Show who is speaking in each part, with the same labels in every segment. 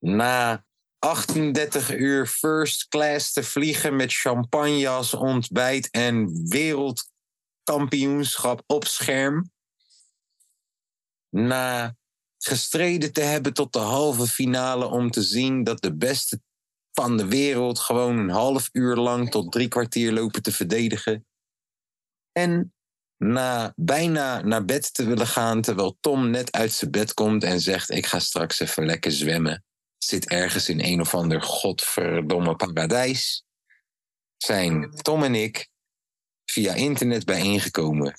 Speaker 1: Na 38 uur first class te vliegen met champagnes, ontbijt en wereldkampioenschap op scherm. Na gestreden te hebben tot de halve finale om te zien dat de beste van de wereld gewoon een half uur lang tot drie kwartier lopen te verdedigen. En na bijna naar bed te willen gaan, terwijl Tom net uit zijn bed komt en zegt: Ik ga straks even lekker zwemmen. Zit ergens in een of ander godverdomme paradijs. Zijn Tom en ik via internet bijeengekomen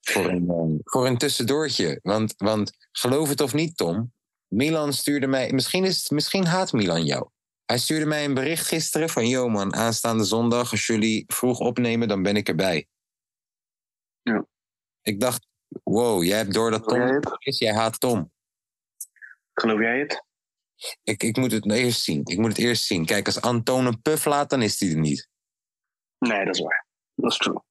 Speaker 1: voor een, eh, voor een tussendoortje. Want, want geloof het of niet, Tom, Milan stuurde mij. Misschien, is, het- misschien haat Milan jou. Hij stuurde mij een bericht gisteren van: Yo man, aanstaande zondag, als jullie vroeg opnemen, dan ben ik erbij. Ik dacht, wow, jij hebt door dat
Speaker 2: Geloof jij
Speaker 1: Tom
Speaker 2: het?
Speaker 1: is, jij haat Tom.
Speaker 2: Geloof jij het?
Speaker 1: Ik, ik moet het eerst zien. Ik moet het eerst zien. Kijk, als Anton een puff laat, dan is hij er niet.
Speaker 2: Nee, dat is waar. Dat is true.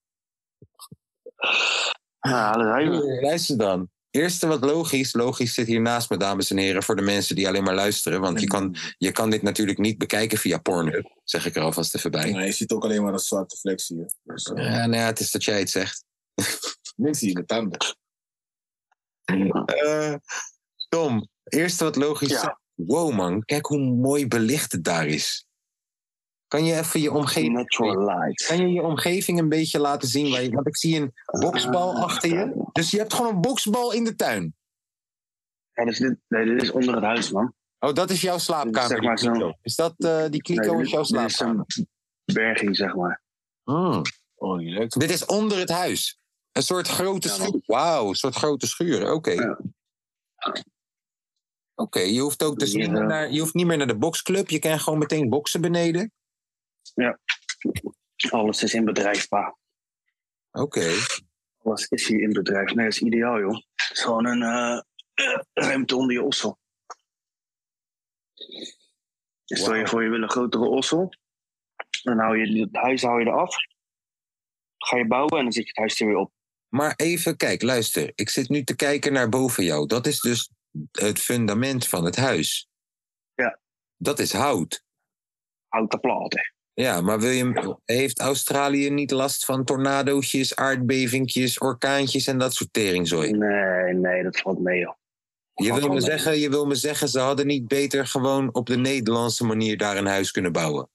Speaker 2: Ja, dat hij
Speaker 1: Hey, Luister dan. Eerste wat logisch. Logisch zit hier naast me, dames en heren, voor de mensen die alleen maar luisteren. Want je kan, je kan dit natuurlijk niet bekijken via Pornhub, zeg ik er alvast even bij.
Speaker 3: Nou, je ziet ook alleen maar een zwarte vlek hier. Dus, eh,
Speaker 1: Ja, nou ja, het is dat jij het zegt.
Speaker 3: niks hier, de tanden.
Speaker 1: Eh, Tom, eerste wat logisch
Speaker 2: Ja.
Speaker 1: zegt. Wow man, kijk hoe mooi belicht het daar is. Kan je even je omgeving...
Speaker 2: Natural light.
Speaker 1: Kan je je omgeving een beetje laten zien? Waar je, want ik zie een boksbal achter je. Dus je hebt gewoon een boksbal in de tuin.
Speaker 2: Ja, dus dit, nee, dit is onder het huis, man.
Speaker 1: Oh, dat is jouw slaapkamer.
Speaker 2: Zeg maar
Speaker 1: die
Speaker 2: zo'n-
Speaker 1: kliko. Is dat eh, die kliko
Speaker 2: nee,
Speaker 1: is jouw
Speaker 2: dit- dit is
Speaker 1: slaapkamer?
Speaker 2: zo'n berging, zeg maar.
Speaker 1: Hmm.
Speaker 3: Oh, niet leuk.
Speaker 1: Dit is onder het huis. Een soort grote
Speaker 2: Ja, man.
Speaker 1: schuur. Wauw, een soort grote schuur. Oké.
Speaker 2: Ja.
Speaker 1: Oké, je hoeft ook dus
Speaker 2: Ja.
Speaker 1: niet meer, naar, je hoeft niet meer naar de boksclub. Je kan gewoon meteen boksen beneden.
Speaker 2: Alles is in bedrijf, pa.
Speaker 1: Oké.
Speaker 2: Alles is hier in bedrijf. Nee, dat is ideaal, joh. Het is gewoon een eh, ruimte onder je ossel. Dus Stel je
Speaker 1: Wauw.
Speaker 2: voor, je wil een grotere ossel. Dan hou je het huis hou je eraf. Ga je bouwen en dan zet je het huis er weer op.
Speaker 1: Maar even, kijk, luister. Ik zit nu te kijken naar boven jou. Dat is dus het fundament van het huis.
Speaker 2: Ja.
Speaker 1: Dat is hout.
Speaker 2: Houten platen.
Speaker 1: Ja, maar wil je, heeft Australië niet last van tornadootjes, aardbevingjes, orkaantjes en dat soort teringzooi?
Speaker 2: Nee, eh, nee, dat valt mee, joh.
Speaker 1: Je
Speaker 2: Valt
Speaker 1: wil,
Speaker 2: wel
Speaker 1: me
Speaker 2: mee.
Speaker 1: zeggen, je wil me zeggen, ze hadden niet beter gewoon op de Nederlandse manier daar een huis kunnen bouwen.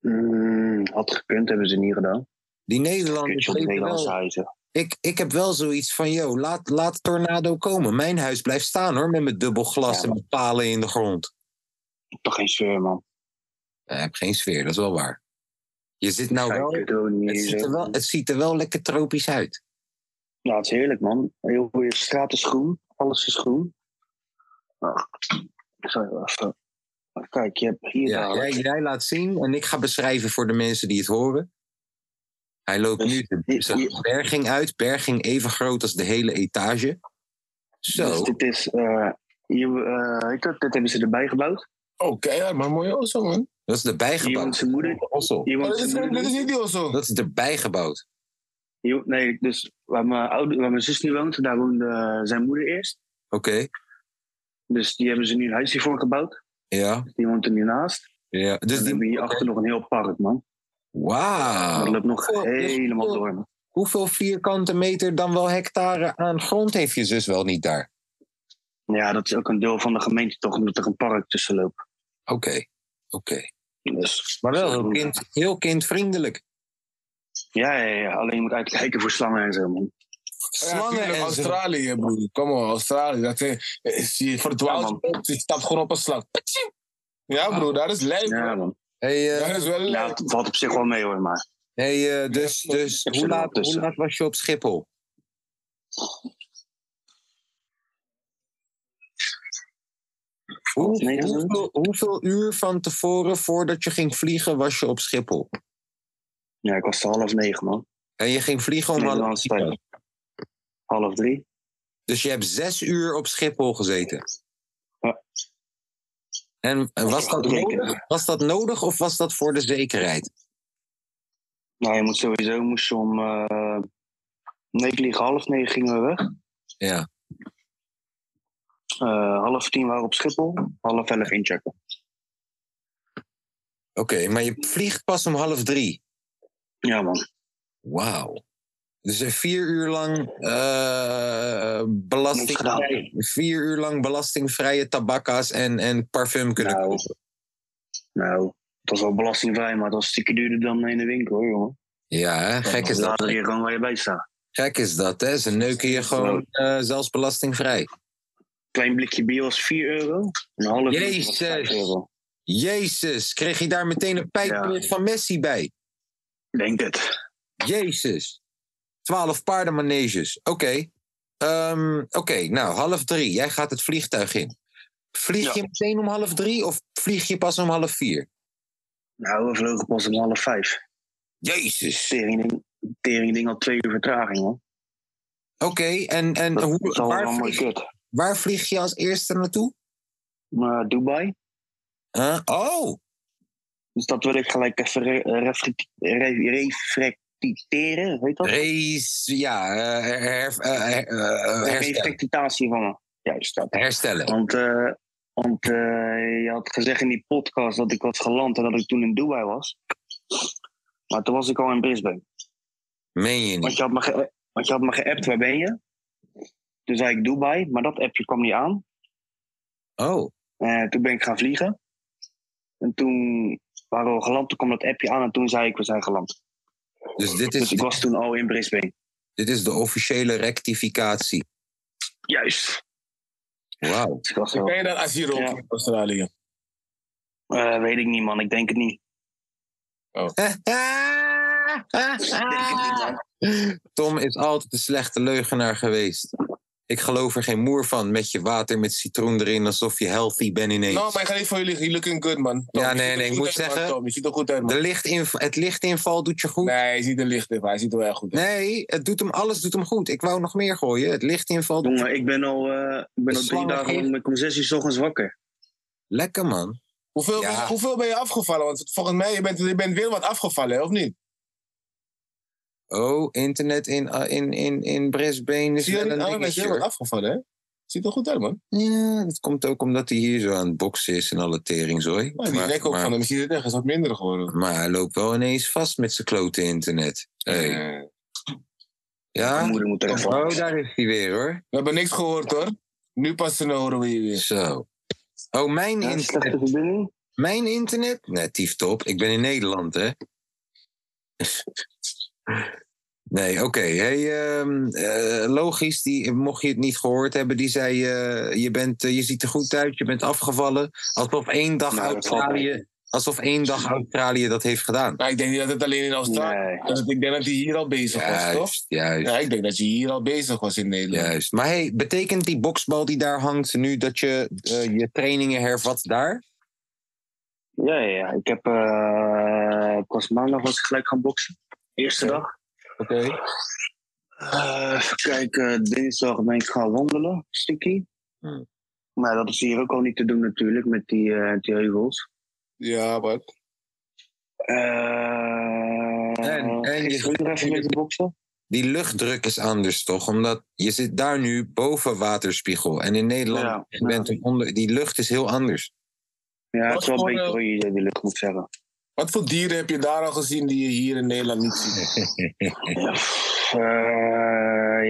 Speaker 2: Mm, had gekund, hebben ze niet gedaan.
Speaker 1: Die Nederlanders
Speaker 2: Kutje op
Speaker 1: weten
Speaker 2: Nederlandse
Speaker 1: wel-
Speaker 2: huizen.
Speaker 1: Ik, ik heb wel zoiets van, joh, laat, laat tornado komen. Mijn huis blijft staan hoor, met mijn dubbel glas
Speaker 2: Ja,
Speaker 1: en mijn palen in de grond.
Speaker 2: Toch geen sfeer, man.
Speaker 1: Oh, Ik heb geen sfeer, dat is wel waar. Je zit nou
Speaker 2: Kijk, eh,
Speaker 1: wel
Speaker 2: ik doe niet
Speaker 1: het,
Speaker 2: eens,
Speaker 1: ziet er
Speaker 2: hè.
Speaker 1: wel, het ziet er wel lekker tropisch uit.
Speaker 2: Ja, het is heerlijk, man. Heel goede straat is groen. Alles is groen. Ah, ik zal je even- Kijk, je hebt hier...
Speaker 1: Ja,
Speaker 2: dadelijk-
Speaker 1: jij, jij laat zien en ik ga beschrijven voor de mensen die het horen. Hij loopt nu de
Speaker 2: Dit-
Speaker 1: zijn berging uit. Berging even groot als de hele etage.
Speaker 2: Dus
Speaker 1: Zo,
Speaker 2: dit is... eh hier, eh, ik had- dit hebben ze erbij gebouwd.
Speaker 3: Oh, keihard, maar mooie osso, man.
Speaker 1: dat is de
Speaker 2: Hier woont
Speaker 1: bijgebouwd.
Speaker 2: zijn moeder.
Speaker 1: Ossel.
Speaker 2: Hier
Speaker 3: Oh,
Speaker 2: woont
Speaker 3: dat, is,
Speaker 2: zijn
Speaker 3: dat is
Speaker 2: moeder.
Speaker 3: niet die osso.
Speaker 1: Dat is de bijgebouwd.
Speaker 2: Hier- nee, dus waar mijn, oude, waar mijn zus nu woont, daar woonde eh, zijn moeder eerst.
Speaker 1: Oké,
Speaker 2: Dus die hebben ze nu een huisje voor gebouwd.
Speaker 1: ja.
Speaker 2: Die woont er nu naast.
Speaker 1: ja. Dus
Speaker 2: en dan
Speaker 1: die...
Speaker 2: hebben we hierachter nog een heel park, man. Maar dat
Speaker 1: Wauw.
Speaker 2: loopt nog
Speaker 1: Oh, dus-
Speaker 2: helemaal door, man.
Speaker 1: Hoeveel vierkante meter dan wel hectare aan grond heeft je zus wel niet daar?
Speaker 2: Ja, dat is ook een deel van de gemeente toch, omdat er een park tussen loopt.
Speaker 1: Oké, oké.
Speaker 2: Dus,
Speaker 1: Maar wel heel, kind, heel kindvriendelijk.
Speaker 2: Ja, ja, ja, alleen je moet uitkijken voor slangen en zo, man.
Speaker 3: Ja,
Speaker 1: Slangen
Speaker 3: tuurlijk,
Speaker 1: en zo.
Speaker 3: Australië, broer. Kom op, Australië. Dat is, is, je
Speaker 2: Ja,
Speaker 3: verdwaalt, je stapt gewoon op een slag. Patsim! Ja, broer, dat is lijf.
Speaker 2: Ja,
Speaker 3: Ja,
Speaker 2: man.
Speaker 1: Hey, eh,
Speaker 3: dat is wel
Speaker 2: Ja,
Speaker 3: lijf.
Speaker 2: het valt op zich wel mee hoor, maar
Speaker 1: hey, eh, dus,
Speaker 3: Ja,
Speaker 1: dus
Speaker 2: heb ze
Speaker 1: hoe,
Speaker 2: er wel
Speaker 1: laat, hoe
Speaker 2: tussen.
Speaker 1: laat was je op Schiphol? Hoe-
Speaker 2: Nee, dat is het.
Speaker 1: hoeveel, hoeveel uur van tevoren voordat je ging vliegen was je op Schiphol?
Speaker 2: Ja, ik was te half negen, man.
Speaker 1: En je ging vliegen om half
Speaker 2: Nederlandse tijd. Half drie.
Speaker 1: Dus je hebt zes uur op Schiphol gezeten.
Speaker 2: Ja.
Speaker 1: En eh, was dat,
Speaker 2: Rekenen.
Speaker 1: nodig, was dat nodig of was dat voor de zekerheid?
Speaker 2: Nou, je moet sowieso moest je om eh negen, liggen, half negen gingen we weg.
Speaker 1: Ja.
Speaker 2: Eh, half tien waren we op Schiphol, half elf inchecken.
Speaker 1: Oké, maar je vliegt pas om half drie.
Speaker 2: Ja, man.
Speaker 1: Wauw. Dus eh, vier uur lang eh
Speaker 2: Niks gedaan.
Speaker 1: belasting. Vier uur lang belastingvrije tabakka's en, en parfum kunnen
Speaker 2: Nou.
Speaker 1: kopen.
Speaker 2: Nou, het was wel belastingvrij, maar het was een stukje duurder dan in de winkel, hoor, jongen.
Speaker 1: Ja, hè? gek is
Speaker 2: Dus
Speaker 1: dat.
Speaker 2: later hier gewoon waar je bij staat.
Speaker 1: Gek is dat, hè? Ze neuken je gewoon eh, zelfs belastingvrij.
Speaker 2: Klein blikje bier was 4 euro. Een half liter was 5
Speaker 1: Jezus.
Speaker 2: euro.
Speaker 1: Jezus, kreeg je daar meteen een pijp
Speaker 2: Ja.
Speaker 1: van Messi bij?
Speaker 2: Denk het.
Speaker 1: Jezus. Twaalf paardenmaneges. Oké. Ehm, Oké, nou, half drie. Jij gaat het vliegtuig in. Vlieg
Speaker 2: Ja.
Speaker 1: je meteen om half drie of vlieg je pas om half vier?
Speaker 2: Nou, we vlogen pas om half vijf.
Speaker 1: Jezus.
Speaker 2: Tering ding, tering ding al twee uur vertraging, man.
Speaker 1: Oké, en, en
Speaker 2: Dat
Speaker 1: hoe,
Speaker 2: is al
Speaker 1: waar,
Speaker 2: allemaal
Speaker 1: vlieg,
Speaker 2: kut.
Speaker 1: waar vlieg je als eerste naartoe?
Speaker 2: Maar Dubai,
Speaker 1: Huh? Oh,
Speaker 2: dus dat wil ik gelijk even re- reflecti- re- reflecteren, weet dat?
Speaker 1: race. Ja, eh, her- eh, eh, eh, herstellen.
Speaker 2: Reflectatie van me. Juist, dat.
Speaker 1: herstellen.
Speaker 2: Want, eh, want eh, je had gezegd in die podcast dat ik was geland en dat ik toen in Dubai was. Maar toen was ik al in Brisbane.
Speaker 1: Meen je
Speaker 2: Want
Speaker 1: niet?
Speaker 2: je had me, ge- want je had me geappt, waar ben je? Toen zei ik Dubai, maar dat appje kwam niet aan.
Speaker 1: Oh,
Speaker 2: Eh, toen ben ik gaan vliegen. En toen waren we geland, toen kwam dat appje aan en toen zei ik, we zijn geland.
Speaker 1: dus dit
Speaker 2: Dus
Speaker 1: is,
Speaker 2: ik was toen al in Brisbane.
Speaker 1: dit is de officiële rectificatie.
Speaker 2: Juist.
Speaker 1: Wauw.
Speaker 2: Dus ik was
Speaker 3: Dan
Speaker 2: wel-
Speaker 3: kan je dat asiel ook
Speaker 2: Ja.
Speaker 3: in Australië.
Speaker 2: Eh, weet ik niet, man. Ik denk het niet.
Speaker 1: Ah.
Speaker 2: Ik denk het niet, man.
Speaker 1: Tom is altijd een slechte leugenaar geweest. Ik geloof er geen moer van met je water met citroen erin alsof je healthy bent ineens.
Speaker 3: Nou, maar ik ga niet voor jullie. Jullie looking good, man. Tom,
Speaker 1: Ja,
Speaker 3: je
Speaker 1: nee,
Speaker 3: ziet er
Speaker 1: nee, ik moet
Speaker 3: goed uit, man,
Speaker 1: zeggen-
Speaker 3: Tom, je ziet er goed uit, man.
Speaker 1: De lichtinv- het lichtinval doet je goed.
Speaker 3: Nee, hij ziet er licht in. maar Hij ziet er wel goed uit.
Speaker 1: Nee, het doet hem, alles doet hem goed. Ik wou nog meer gooien. Het lichtinval doet
Speaker 2: Jongen, ik ben al, eh, ik ben
Speaker 1: De
Speaker 2: al drie
Speaker 1: slangen
Speaker 2: dagen
Speaker 1: geven-
Speaker 2: lang met om zes uur 's ochtends wakker.
Speaker 1: Lekker, man.
Speaker 3: Hoeveel,
Speaker 1: Ja.
Speaker 3: ben je, hoeveel ben je afgevallen? Want volgens mij, je bent, je bent weer wat afgevallen, hè, of niet?
Speaker 1: Oh, internet in, eh, in, in, in Brisbane is
Speaker 3: Zie je
Speaker 1: wel
Speaker 3: dat
Speaker 1: een
Speaker 3: niet aan? Dat je
Speaker 1: dingetje.
Speaker 3: weer wat
Speaker 1: hoor.
Speaker 3: afgevallen, hè? Ziet er goed uit, man.
Speaker 1: Ja, dat komt ook omdat hij hier zo aan het boksen is en alle teringzooi.
Speaker 3: Nou, die
Speaker 1: Maar-
Speaker 3: nek ook
Speaker 1: maar-
Speaker 3: van hem. Misschien is het echt wat minder geworden.
Speaker 1: Maar hij loopt wel ineens vast met zijn klote internet. Hey.
Speaker 3: Eh,
Speaker 2: Mijn
Speaker 1: Ja?
Speaker 2: moeder moet er
Speaker 1: Oh, daar is hij weer hoor.
Speaker 3: We hebben niks gehoord, hoor. Nu pas te horen we je weer.
Speaker 1: Zo. Oh, mijn
Speaker 2: Ja,
Speaker 1: internet.
Speaker 2: slechte verbinding.
Speaker 1: Mijn internet? Nee, tief top. Ik ben in Nederland, hè? Nee, oké. Hey, ehm, eh, logisch, die, mocht je het niet gehoord hebben, die zei: eh, je, bent, eh, je ziet er goed uit, je bent afgevallen. Alsof één dag
Speaker 2: Nou, dat valt
Speaker 1: Australië. Alsof één dag Australië dat heeft gedaan.
Speaker 3: Nou, ik denk niet dat het alleen in Australië
Speaker 2: Nee.
Speaker 3: is. Ik denk dat hij hier al bezig was, toch?
Speaker 1: Juist, juist.
Speaker 3: Ja, ik denk dat je hier al bezig was in Nederland.
Speaker 1: Juist. Maar hey, betekent die boksbal die daar hangt nu dat je eh, je trainingen hervat daar?
Speaker 2: Ja, ja, ja. Ik heb eh, pas maandag was ik gelijk gaan boksen. Eerste dag.
Speaker 1: Oké.
Speaker 2: Eh, even kijken, dinsdag ben ik gaan wandelen, stukje.
Speaker 1: Hmm.
Speaker 2: Maar dat is hier ook al niet te doen natuurlijk, met die, eh, die heuvels.
Speaker 3: Ja, maar
Speaker 2: Eh
Speaker 1: en je-
Speaker 2: gisteren weer even met de boksen.
Speaker 1: Die luchtdruk is anders toch? Omdat je zit daar nu boven waterspiegel. En in Nederland
Speaker 2: Ja,
Speaker 1: je bent een onder. Die lucht is heel anders.
Speaker 2: Ja, het is wel
Speaker 3: Wat voor,
Speaker 2: beter
Speaker 3: eh,
Speaker 2: hoe je die lucht moet zeggen.
Speaker 3: wat voor dieren heb je daar al gezien die je hier in Nederland niet ziet?
Speaker 2: Ja, pff, eh,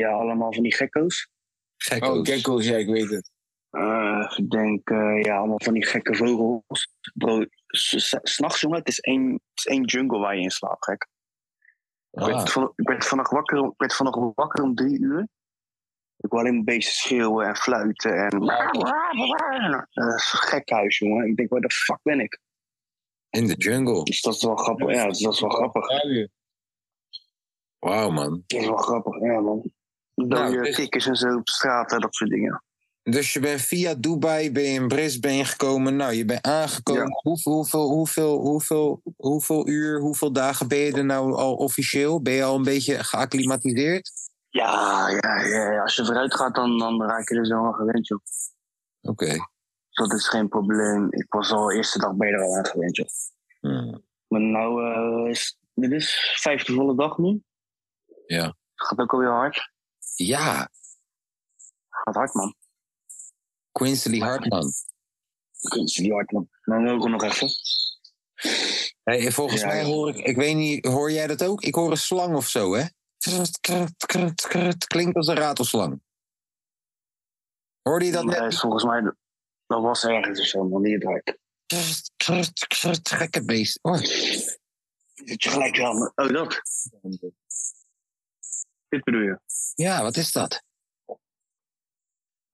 Speaker 2: ja, allemaal van die gekko's.
Speaker 1: Gek
Speaker 3: Oh,
Speaker 1: ook.
Speaker 3: gekko's, ja, ik weet het.
Speaker 2: Eh, ik denk, eh, ja, allemaal van die gekke vogels. Bro, s- s- s'nachts jongen, het is, één, het is één jungle waar je in slaapt, gek. Ik
Speaker 1: Ah,
Speaker 2: werd, van, ik, werd vannacht wakker, om- ik werd vannacht wakker om drie uur. Ik hoorde alleen beesten schreeuwen en fluiten en... Eh, dat is een gek huis, jongen. Ik denk, waar de fuck ben ik?
Speaker 1: in de jungle.
Speaker 2: Dus dat is wel grappig. Ja, dus dat is wel grappig.
Speaker 3: Australië.
Speaker 1: Wauw, man.
Speaker 2: Dat is wel grappig, ja, man. Dode
Speaker 1: dus-
Speaker 2: Nou, kikkers en zo op straat en dat soort dingen.
Speaker 1: Dus je bent via Dubai, ben je in Brisbane gekomen. Nou, je bent aangekomen. Hoeveel, hoeveel, hoeveel, hoeveel, hoeveel uur, hoeveel dagen ben je er nou al officieel? Ben je al een beetje geacclimatiseerd?
Speaker 2: Ja, ja, ja, ja. als je vooruit gaat, dan, dan raak je er zo aan gewend, joh.
Speaker 1: Oké.
Speaker 2: Dus dat is geen probleem. Ik was al de eerste dag ben je er al aan gewend, joh.
Speaker 1: Hm.
Speaker 2: Maar nou, eh, is, dit is vijfde volle dag nu.
Speaker 1: Ja.
Speaker 2: Gaat ook alweer hard.
Speaker 1: Ja,
Speaker 2: Gaat hard, man.
Speaker 1: Quincy Hartman.
Speaker 2: Kunst die hard, man. Dan wil ik nog even.
Speaker 1: Hey, volgens
Speaker 2: Ja,
Speaker 1: mij
Speaker 2: ja.
Speaker 1: hoor ik, ik weet niet, hoor jij dat ook? Ik hoor een slang of zo, hè? Krut, krut, krut, krut. Klinkt als een ratelslang. Hoorde je dat
Speaker 2: Dat
Speaker 1: net?
Speaker 2: is eh, volgens mij, dat was ergens of zo, man, die het hard.
Speaker 1: Krut, krut, krut. Gekke beest. Oh.
Speaker 2: Zit je gelijk wel, maar- oh dat. Dit bedoel je.
Speaker 1: Ja, wat is dat?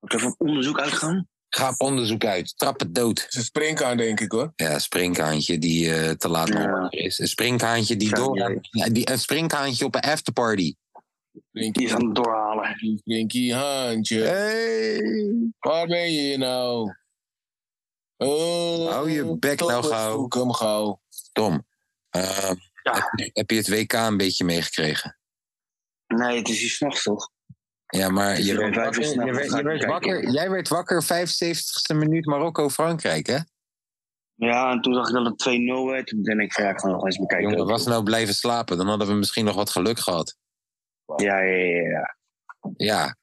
Speaker 2: Moet even op onderzoek uitgaan?
Speaker 1: Ga op onderzoek uit. Trap het dood.
Speaker 3: Het is een springkaan, denk ik hoor.
Speaker 1: Ja, springkaantje die eh, te laat
Speaker 2: Ja.
Speaker 1: nog is. Een springkaantje die
Speaker 2: Ja,
Speaker 1: door...
Speaker 2: ja.
Speaker 1: Ja, die, een springkaantje op een afterparty.
Speaker 2: Die is
Speaker 3: Blinky,
Speaker 2: aan het doorhalen.
Speaker 3: Blinky handje.
Speaker 1: Hey.
Speaker 3: Waar ben je nou? Oh,
Speaker 1: Hou je bek nou
Speaker 3: Thomas,
Speaker 1: gauw.
Speaker 3: zoek hem gauw.
Speaker 1: Tom, eh,
Speaker 2: Ja.
Speaker 1: heb, je- heb je het WK een beetje meegekregen?
Speaker 2: Nee, het is hier s'nachts toch?
Speaker 1: Ja, maar je
Speaker 2: Ja,
Speaker 1: werd
Speaker 2: vijf
Speaker 1: wakker,
Speaker 2: uur s'nachts
Speaker 1: je werd-
Speaker 2: ga
Speaker 1: je
Speaker 2: ik
Speaker 1: werd
Speaker 2: kijken.
Speaker 1: wakker- jij werd wakker 75ste minuut Marokko-Frankrijk, hè?
Speaker 2: Ja, en toen zag ik dat het 2-0 werd. Toen denk ik van ja, ik ga nog eens bekijken.
Speaker 1: Jongen, was nou blijven slapen, dan hadden we misschien nog wat geluk gehad.
Speaker 2: Ja, ja, ja. ja.
Speaker 1: Ja.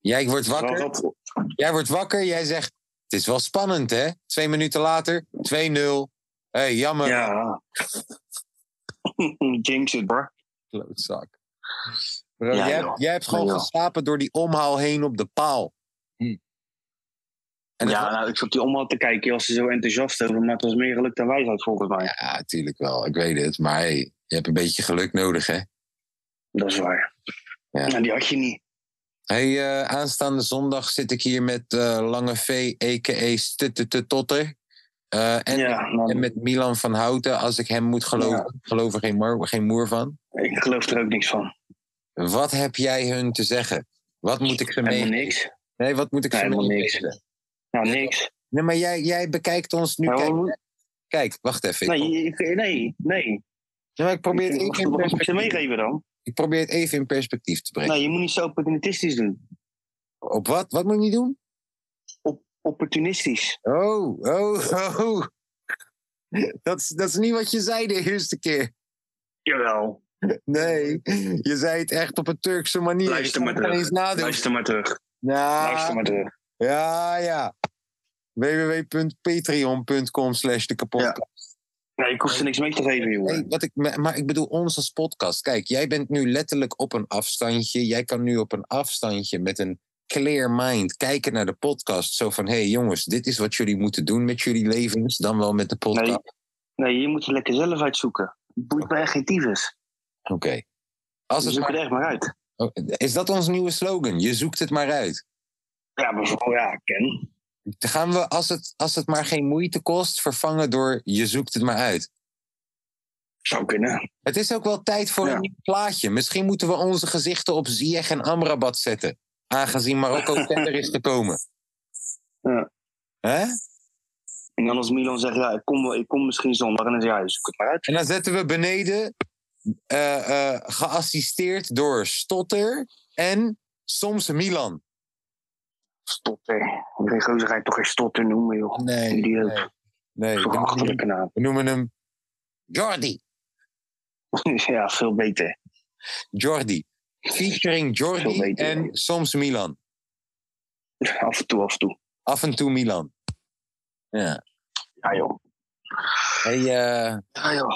Speaker 1: Jij wordt wakker,
Speaker 2: Wel op-
Speaker 1: Jij wordt wakker, jij zegt: Het is wel spannend, hè? Twee minuten later, 2-0. Hé, hey, jammer.
Speaker 2: Ja. Jinx it, bro.
Speaker 1: Klootzak. Bro,
Speaker 2: Ja,
Speaker 1: jij,
Speaker 2: joh.
Speaker 1: jij hebt gewoon
Speaker 2: Ja, joh.
Speaker 1: geslapen door die omhaal heen op de paal.
Speaker 3: Hm.
Speaker 1: En
Speaker 2: ja,
Speaker 1: ja.
Speaker 2: nou, ik zat die omhaal te kijken. Je was er zo enthousiast over, maar het was meer geluk dan wijsheid volgens mij.
Speaker 1: ja, natuurlijk wel. Ik weet het. Maar hey, je hebt een beetje geluk nodig, hè?
Speaker 2: Dat is waar.
Speaker 1: Ja.
Speaker 2: Nou, die had je niet.
Speaker 1: Hey, eh, aanstaande zondag zit ik hier met eh, Lange V, a.k.a. Stuttetutotter. Eh en,
Speaker 2: ja, man.
Speaker 1: en met Milan van Houten, als ik hem moet geloven. Ik geloof er geen, moer- geen moer van.
Speaker 2: ik geloof er ook niks van.
Speaker 1: Wat heb jij hun te zeggen? Wat moet ik ze
Speaker 2: Helemaal
Speaker 1: mee?
Speaker 2: niks.
Speaker 1: Nee, wat moet ik
Speaker 2: Nee,
Speaker 1: ze
Speaker 2: helemaal
Speaker 1: mee?
Speaker 2: niks. Nou, niks.
Speaker 1: Nee, maar jij, jij bekijkt ons nu.
Speaker 2: Ja,
Speaker 1: Kijk,
Speaker 2: wat-
Speaker 1: kijk, wacht even. Ik, probeer-
Speaker 2: nee, ik- nee, nee.
Speaker 1: Ja, maar ik probeer het
Speaker 2: Wat-
Speaker 1: even in
Speaker 2: Wat moet ik ze
Speaker 1: perspectief,
Speaker 2: meegeven dan?
Speaker 1: ik probeer het even in perspectief te brengen.
Speaker 2: Nee, je moet niet zo opportunistisch doen.
Speaker 1: Op wat? Wat moet je niet doen?
Speaker 2: Opportunistisch.
Speaker 1: Oh, oh, oh. Dat is, dat is niet wat je zei de eerste keer.
Speaker 2: Jawel.
Speaker 1: Nee, je zei het echt op een Turkse manier.
Speaker 2: Luister
Speaker 1: Ik kan
Speaker 2: maar
Speaker 1: het
Speaker 2: terug.
Speaker 1: eens nadoen.
Speaker 2: Luister maar terug. Luister
Speaker 1: Ja,
Speaker 2: maar terug.
Speaker 1: ja, ja. www.patreon.com slash de kapotkast.
Speaker 2: Nee, ik hoef er niks mee te geven,
Speaker 1: Nee,
Speaker 2: jongen.
Speaker 1: wat ik, maar maar ik bedoel ons als podcast. Kijk, jij bent nu letterlijk op een afstandje. Jij kan nu op een afstandje met een clear mind kijken naar de podcast. Zo van, hé hey jongens, dit is wat jullie moeten doen met jullie levens. Dan wel met de podcast.
Speaker 2: Nee, nee je moet het lekker zelf uitzoeken. Het boeit mij echt geen tyfus.
Speaker 1: Oké. Als
Speaker 2: Je
Speaker 1: het
Speaker 2: zoekt het
Speaker 1: maar-
Speaker 2: echt maar uit.
Speaker 1: oh, Is dat ons nieuwe slogan? Je zoekt het maar uit.
Speaker 2: Ja, maar vooral ja, Ken.
Speaker 1: Dan gaan we, als het, als het maar geen moeite kost, vervangen door je zoekt het maar uit.
Speaker 2: Zou kunnen.
Speaker 1: Het is ook wel tijd voor
Speaker 2: Ja.
Speaker 1: een nieuw plaatje. Misschien moeten we onze gezichten op Ziyech en Amrabat zetten. Aangezien Marokko verder is gekomen.
Speaker 2: Ja.
Speaker 1: Hè?
Speaker 2: En dan als Milan zegt, ja, ik kom, wel- ik kom misschien zondag. En dan zeg je, ja, je zoekt het maar uit.
Speaker 1: En dan zetten we beneden eh, eh, geassisteerd door Stotter en soms Milan.
Speaker 2: Stotter. Geen gozer ga je toch geen stotter noemen, joh.
Speaker 1: Nee.
Speaker 2: Die ook.
Speaker 1: Nee, nee, we,
Speaker 2: Zo'n
Speaker 1: noemen hem,
Speaker 2: achterlijke naam.
Speaker 1: we noemen hem Jordi.
Speaker 2: Dus ja, veel beter.
Speaker 1: Jordi. Featuring
Speaker 2: Veel
Speaker 1: Jordi
Speaker 2: beter.
Speaker 1: en soms Milan.
Speaker 2: Af en toe, af en toe.
Speaker 1: Af en toe Milan. Ja.
Speaker 2: Ja, joh.
Speaker 1: Hey, eh,
Speaker 2: Ja, joh.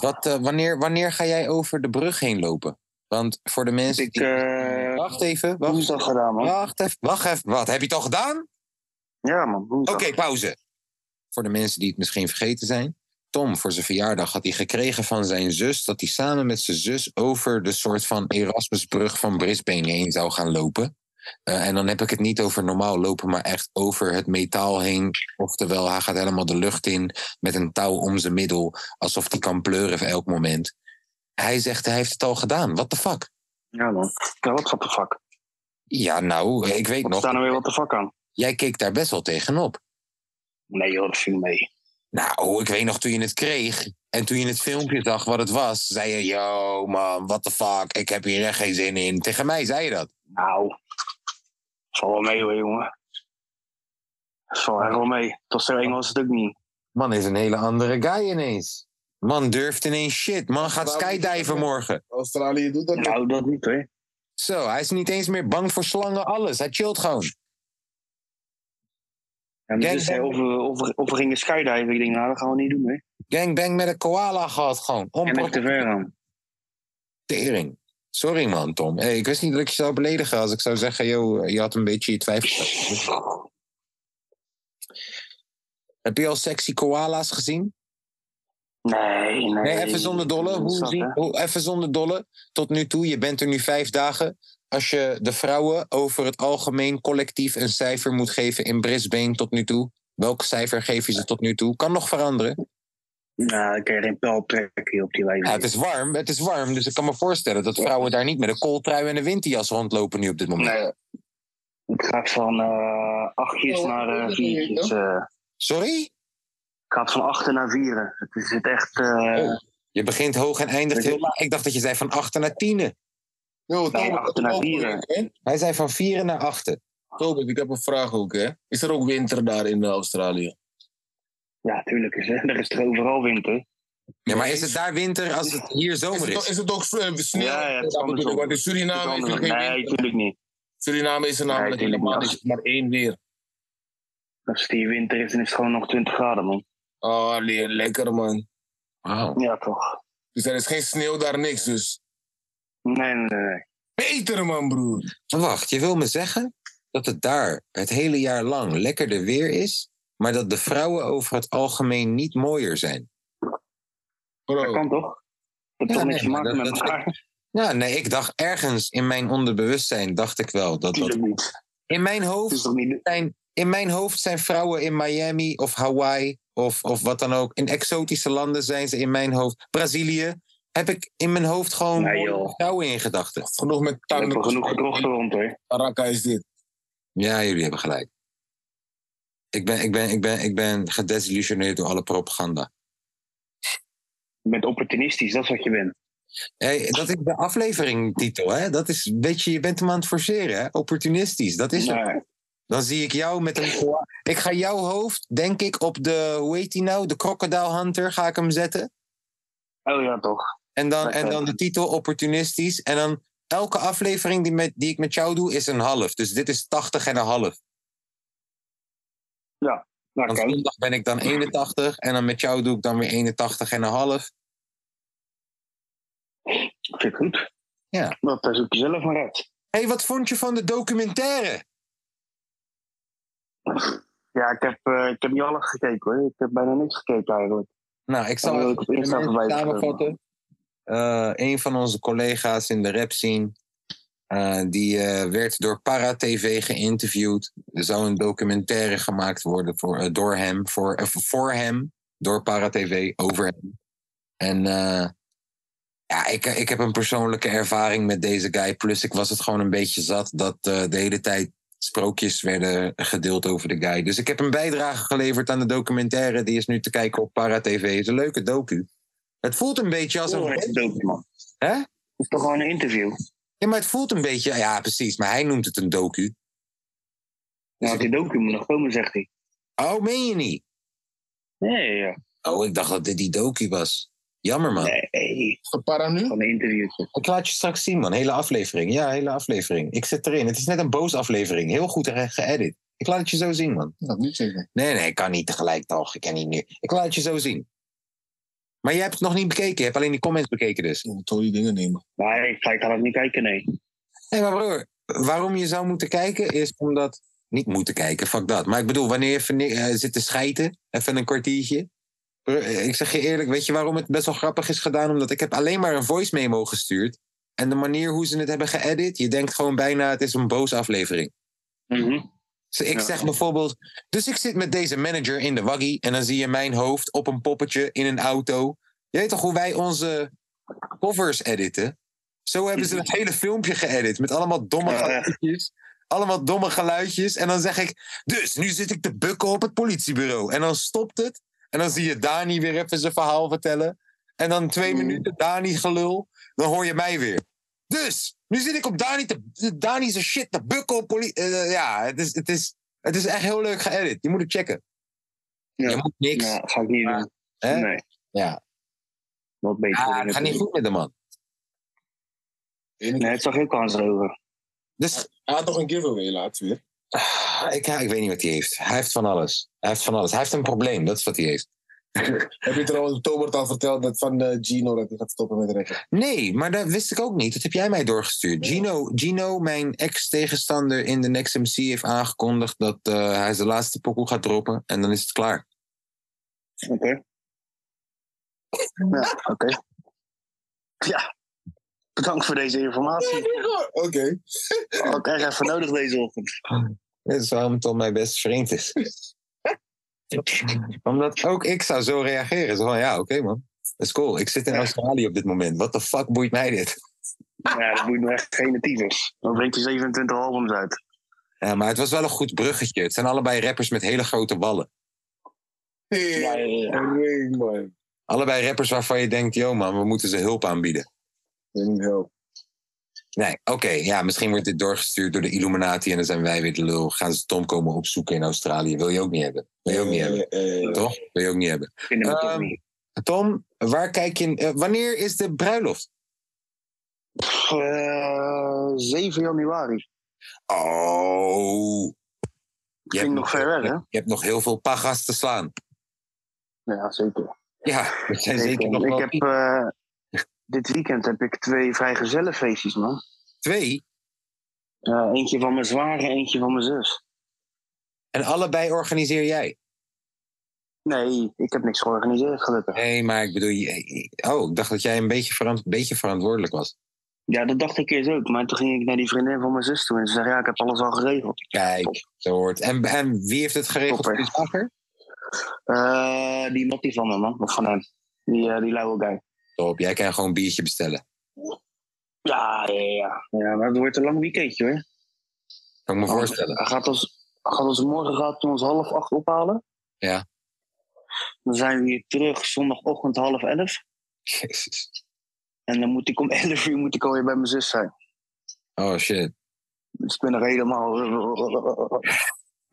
Speaker 1: Wat, eh, wanneer, wanneer ga jij over de brug heen lopen? Want voor de mensen.
Speaker 2: Ik,
Speaker 1: die-
Speaker 2: eh
Speaker 1: wacht even,
Speaker 2: hoe
Speaker 1: wacht,
Speaker 2: is dat gedaan, man?
Speaker 1: wacht even. Wacht even. Wat heb je het al gedaan?
Speaker 2: Ja, man. Hoe is
Speaker 1: Oké,
Speaker 2: dat?
Speaker 1: pauze. Voor de mensen die het misschien vergeten zijn. Tom, voor zijn verjaardag had hij gekregen van zijn zus dat hij samen met zijn zus over de soort van Erasmusbrug van Brisbane heen zou gaan lopen. Eh, en dan heb ik het niet over normaal lopen, maar echt over het metaal heen. Oftewel, hij gaat helemaal de lucht in met een touw om zijn middel, alsof hij kan pleuren voor elk moment. Hij zegt, hij heeft het al gedaan. What the fuck?
Speaker 2: Ja, man. Ja, wat wat de fuck?
Speaker 1: Ja, nou, ik weet
Speaker 2: Wat
Speaker 1: nog.
Speaker 2: staan er weer wat de fuck aan?
Speaker 1: Jij keek daar best wel tegenop.
Speaker 2: Nee joh, dat viel mee.
Speaker 1: Nou, ik weet nog toen je het kreeg. En toen je het filmpje zag wat het was, zei je: Yo, man, what the fuck, ik heb hier echt geen zin in. Tegen mij zei je dat.
Speaker 2: Nou, zal wel mee hoor, jongen. Zal echt wel mee. Tot zo eng was het ook niet.
Speaker 1: Man is een hele andere guy ineens. Man durft ineens shit. Man gaat
Speaker 3: Waarom-
Speaker 1: skydiven morgen.
Speaker 3: Australië doet dat niet.
Speaker 2: Nou, dat niet hoor.
Speaker 1: Zo, hij is niet eens meer bang voor slangen, alles. Hij chillt gewoon.
Speaker 2: Ja,
Speaker 1: Gang
Speaker 2: maar dus, hè, of, we, of, we, of we gingen skydiven, ik denk, nou, dat gaan we niet doen hè.
Speaker 1: Gangbang met een koala gehad gewoon.
Speaker 2: En echt te ver gaan.
Speaker 1: Tering. Sorry man, Tom. Hey, ik wist niet dat ik je zou beledigen als ik zou zeggen, joh, je had een beetje je twijfels. Heb je al sexy koala's gezien?
Speaker 2: Nee, nee.
Speaker 1: Nee, even zonder dolle.
Speaker 2: Dat is
Speaker 1: Hoe
Speaker 2: dat,
Speaker 1: zien,
Speaker 2: hè?
Speaker 1: hoe, even zonder dolle. Tot nu toe, je bent er nu vijf dagen. Als je de vrouwen over het algemeen collectief een cijfer moet geven in Brisbane tot nu toe, welk cijfer geef je ze tot nu toe? Kan nog veranderen.
Speaker 2: Nou, dan kun je geen pijl trekken hier op die wijze.
Speaker 1: Ja, het is warm, het is warm, dus ik kan me voorstellen dat vrouwen daar niet met een kooltrui en een winterjas rondlopen nu op dit moment.
Speaker 2: Nee. Ik ga van eh achtjes
Speaker 3: Oh,
Speaker 2: naar eh
Speaker 3: dat
Speaker 2: viertjes.
Speaker 3: is
Speaker 2: eh.
Speaker 1: Sorry?
Speaker 2: ik ga van achter naar vieren. Het is het echt... eh,
Speaker 1: Oh. Je begint hoog en eindigt
Speaker 2: Weet je-
Speaker 1: heel laag. Ik dacht dat je zei van 8 naar 10.
Speaker 3: Yo, Tom,
Speaker 2: Nee,
Speaker 3: ik heb
Speaker 2: achter
Speaker 3: een
Speaker 2: naar
Speaker 3: ook
Speaker 2: vieren.
Speaker 3: project, hè?
Speaker 1: Hij zei van 4 naar 8.
Speaker 3: Robert, ik heb een vraag ook, hè. Is er ook winter daar in eh, Australië?
Speaker 2: Ja, tuurlijk. Is, hè. Er is er overal winter.
Speaker 1: Ja, maar is het daar winter als het hier
Speaker 3: Is
Speaker 1: zomer
Speaker 3: het, ook-
Speaker 1: is?
Speaker 3: is het ook eh, sneeuw?
Speaker 2: Ja, ja, het is
Speaker 3: Dat bedoel
Speaker 2: andersom.
Speaker 3: ik, Want in Suriname is er geen
Speaker 2: Nee,
Speaker 3: winter.
Speaker 2: tuurlijk niet.
Speaker 3: Suriname is er namelijk
Speaker 2: tuurlijk
Speaker 3: helemaal
Speaker 2: niet.
Speaker 3: niet, maar één weer.
Speaker 2: Als het hier winter is, dan is het gewoon nog 20 graden, man.
Speaker 3: Oh, le- lekker, man.
Speaker 1: Wauw.
Speaker 2: Ja, toch?
Speaker 3: Dus er is geen sneeuw daar, niks dus.
Speaker 2: Nee, nee, nee. nee.
Speaker 3: Beter, man, broer.
Speaker 1: Wacht, je wil me zeggen dat het daar het hele jaar lang lekkerder weer is, maar dat de vrouwen over het algemeen niet mooier zijn?
Speaker 2: Dat
Speaker 3: Bro,
Speaker 2: kan toch? Dat heeft
Speaker 1: Ja, nee,
Speaker 2: toch niks te
Speaker 1: maar
Speaker 2: maken
Speaker 1: dat-
Speaker 2: met
Speaker 1: dat-
Speaker 2: elkaar?
Speaker 1: Ja, nee, ik dacht ergens in mijn onderbewustzijn, dacht ik wel dat dat.
Speaker 2: Tuurlijk niet.
Speaker 1: In mijn
Speaker 2: Dat is
Speaker 1: hoofd
Speaker 2: toch niet...
Speaker 1: zijn, in mijn hoofd zijn vrouwen in Miami of Hawaii of, of wat dan ook. In exotische landen zijn ze in mijn hoofd. Brazilië heb ik in mijn hoofd gewoon
Speaker 2: Nee,
Speaker 1: mooie
Speaker 2: joh.
Speaker 1: vrouwen in gedachten.
Speaker 3: genoeg met
Speaker 2: We
Speaker 3: tanden.
Speaker 2: hebben genoeg gedrochten rond, hoor.
Speaker 3: Baraka is dit.
Speaker 1: Ja, jullie hebben gelijk. Ik ben, ik ben, ik ben, ik ben gedesillusioneerd door alle propaganda.
Speaker 2: Je bent opportunistisch, dat is wat je bent.
Speaker 1: Hey, dat is de afleveringtitel, hè? Dat is, weet je, je bent hem aan het forceren, hè? Opportunistisch, dat is het.
Speaker 2: Nee.
Speaker 1: Dan zie ik jou met een... koa- Ik ga jouw hoofd, denk ik, op de, hoe heet die nou? De Crocodile Hunter ga ik hem zetten.
Speaker 2: Oh ja, toch?
Speaker 1: En dan,
Speaker 2: Oké.
Speaker 1: en dan de titel opportunistisch. En dan elke aflevering die, met, die ik met jou doe is een half. Dus dit is 80 en een half.
Speaker 2: Nou,
Speaker 1: Want
Speaker 2: kijk.
Speaker 1: zondag ben ik dan 81 en dan met jou doe ik dan weer 81 en een half.
Speaker 2: Vind ik goed.
Speaker 1: Ja.
Speaker 2: Dat eh, zoek je zelf maar uit.
Speaker 1: Hé, hey, wat vond je van de documentaire?
Speaker 2: Ja, ik heb, eh, ik heb niet alles gekeken hoor. Ik heb bijna niks gekeken eigenlijk.
Speaker 1: Nou, ik zal
Speaker 2: Oh,
Speaker 1: even
Speaker 2: ik ben
Speaker 1: even
Speaker 2: zelf erbij
Speaker 1: samenvatten. Eh, een van onze collega's in de rap scene, eh, die eh, werd door Para TV geïnterviewd. Er zou een documentaire gemaakt worden voor, eh, door hem, voor, eh, voor hem, door Para TV, over hem. En eh, ja, ik, ik heb een persoonlijke ervaring met deze guy. Plus, ik was het gewoon een beetje zat dat eh, de hele tijd sprookjes werden gedeeld over de guy. Dus ik heb een bijdrage geleverd aan de documentaire. Die is nu te kijken op Para TV. Het is een leuke docu. Het voelt een beetje als
Speaker 2: Gewoon
Speaker 1: een.
Speaker 2: een docu, man.
Speaker 1: Hè?
Speaker 2: Het is toch gewoon een interview?
Speaker 1: Ja, maar het voelt een beetje. Ja, precies. Maar hij noemt het een docu.
Speaker 2: Ja, want Nou, die docu moet nog komen, zegt hij.
Speaker 1: Oh, meen je niet?
Speaker 2: Nee, ja.
Speaker 1: Oh, ik dacht dat dit die docu was. Jammer, man.
Speaker 2: nee.
Speaker 3: Is het para nu?
Speaker 2: Van een interviewtje.
Speaker 1: Ik laat je straks zien, man. Hele aflevering. Ja, hele aflevering. Ik zit erin. Het is net een boos aflevering. Heel goed ge- geëdit. Ik laat het je zo zien, man.
Speaker 3: Dat niet zeggen.
Speaker 1: Nee, nee, ik kan niet tegelijk, toch? Ik kan niet nu. Ik laat het je zo zien. Maar jij hebt het nog niet bekeken. Je hebt alleen die comments bekeken, dus.
Speaker 3: Je moet al die dingen nemen.
Speaker 2: Maar ik ga ik ook niet kijken, nee.
Speaker 1: Nee, maar broer, waarom je zou moeten kijken is omdat... Niet moeten kijken, fuck dat. Maar ik bedoel, wanneer je even, eh, zit te schijten, even een kwartiertje... Broer, eh, Ik zeg je eerlijk, weet je waarom het best wel grappig is gedaan? Omdat ik heb alleen maar een voice memo gestuurd. En de manier hoe ze het hebben geëdit, je denkt gewoon bijna het is een boos aflevering.
Speaker 2: Mhm.
Speaker 1: Dus ik
Speaker 2: Ja.
Speaker 1: zeg bijvoorbeeld, dus ik zit met deze manager in de waggie en dan zie je mijn hoofd op een poppetje in een auto. Je weet toch hoe wij onze covers editen? Zo hebben ze het hele filmpje geëdit. Met allemaal domme
Speaker 2: Mhm. Ja, echt.
Speaker 1: geluidjes. Allemaal domme geluidjes. En dan zeg ik, dus nu zit ik te bukken op het politiebureau. En dan stopt het. En dan zie je Dani weer even zijn verhaal vertellen. En dan twee
Speaker 2: Mm.
Speaker 1: minuten Dani gelul. Dan hoor je mij weer. Dus, nu zit ik op Dani, te, Dani zijn shit te bukken op politie. ja, het is, het, is, het is echt heel leuk geëdit. Je moet het checken.
Speaker 2: Ja.
Speaker 1: Je moet niks.
Speaker 2: Ja, nou, ga ik niet
Speaker 1: Ja.
Speaker 2: doen.
Speaker 1: hè?
Speaker 2: Nee.
Speaker 1: Ja.
Speaker 2: Wat beter.
Speaker 1: Ja,
Speaker 2: dingen
Speaker 1: Ah, het gaat
Speaker 2: te
Speaker 1: niet
Speaker 2: doen.
Speaker 1: goed met de man.
Speaker 2: Nee, het zag heel kans over.
Speaker 1: Dus
Speaker 3: Hij had nog een giveaway laatst weer.
Speaker 1: Ah, Ik, ja, ik weet niet wat hij heeft. Hij heeft van alles. Hij heeft van alles. Hij heeft een probleem, dat is wat hij heeft.
Speaker 3: Heb je trouwens Tobert al verteld dat van eh, Gino dat hij gaat stoppen met rekken?
Speaker 1: Nee, maar dat wist ik ook niet. Dat heb jij mij doorgestuurd. Gino, Gino mijn ex-tegenstander in de Next MC, heeft aangekondigd dat eh, hij zijn laatste pokoe gaat droppen. En dan is het klaar.
Speaker 2: Oké. Ja, oké. Ja. Bedankt voor deze informatie.
Speaker 3: Oké.
Speaker 2: Had ik echt even nodig deze ochtend.
Speaker 1: Dat is waarom het al mijn beste vriend is. Omdat ook ik zou zo reageren. Zo van, ja, oké man. Dat is cool. Ik zit in
Speaker 2: Ja.
Speaker 1: Australië op dit moment. Wat de fuck boeit mij dit?
Speaker 2: Ja, dat moet nog echt geen tyfus. Dan brengt hij 27 albums uit.
Speaker 1: Ja, maar het was wel een goed bruggetje. Het zijn allebei rappers met hele grote ballen.
Speaker 3: Hey,
Speaker 2: Ja, ja, ja.
Speaker 3: ring, man.
Speaker 1: Allebei rappers waarvan je denkt, yo man, we moeten ze hulp aanbieden.
Speaker 3: Ring help.
Speaker 1: Nee, oké, ja, misschien wordt dit doorgestuurd door de Illuminati en dan zijn wij weer de lul. Gaan ze Tom komen opzoeken in Australië? Wil je ook niet hebben? Wil je ook niet hebben?
Speaker 3: Eh, eh,
Speaker 1: Toch? Wil je ook niet hebben?
Speaker 2: Vinden we toch
Speaker 1: Ehm,
Speaker 2: niet.
Speaker 1: Tom, waar kijk je? eh, wanneer is de bruiloft?
Speaker 2: Pff, eh, 7 januari.
Speaker 1: Oh, je
Speaker 2: Klinkt nog ver weg, hè?
Speaker 1: je hebt nog heel veel pagas te slaan.
Speaker 2: Ja, zeker.
Speaker 1: Ja, er zijn
Speaker 2: Ik,
Speaker 1: zeker nog wel
Speaker 2: ik heb, eh, dit weekend heb ik twee vrijgezellenfeestjes, man.
Speaker 1: twee.
Speaker 2: Ja, eentje van mijn zwaar en eentje van mijn zus.
Speaker 1: En allebei organiseer jij.
Speaker 2: Nee, ik heb niks georganiseerd, gelukkig.
Speaker 1: Nee, maar ik bedoel, je- oh, ik dacht dat jij een beetje, verant- beetje verantwoordelijk was.
Speaker 2: Ja, dat dacht ik eerst ook. Maar toen ging ik naar die vriendin van mijn zus toe. En ze zei, ja, ik heb alles al geregeld.
Speaker 1: Kijk, zo hoort. En, en wie heeft het geregeld?
Speaker 2: Topper.
Speaker 1: Chris Bakker?
Speaker 2: Eh, die Mattie van me, man. Of van hem. Die, eh die lauwe guy.
Speaker 1: Top, jij kan gewoon een biertje bestellen.
Speaker 2: Ja, ja, ja. Ja, maar het wordt een lang weekendje, hoor.
Speaker 1: Kan ik me voorstellen.
Speaker 2: Hij gaat ons, hij gaat ons morgen gaat hij ons half acht ophalen.
Speaker 1: Ja.
Speaker 2: Dan zijn we hier terug zondagochtend half elf.
Speaker 1: Jezus.
Speaker 2: En dan moet ik om elf uur moet ik alweer bij mijn zus zijn.
Speaker 1: Oh shit.
Speaker 2: Dus ik ben nog helemaal... eh,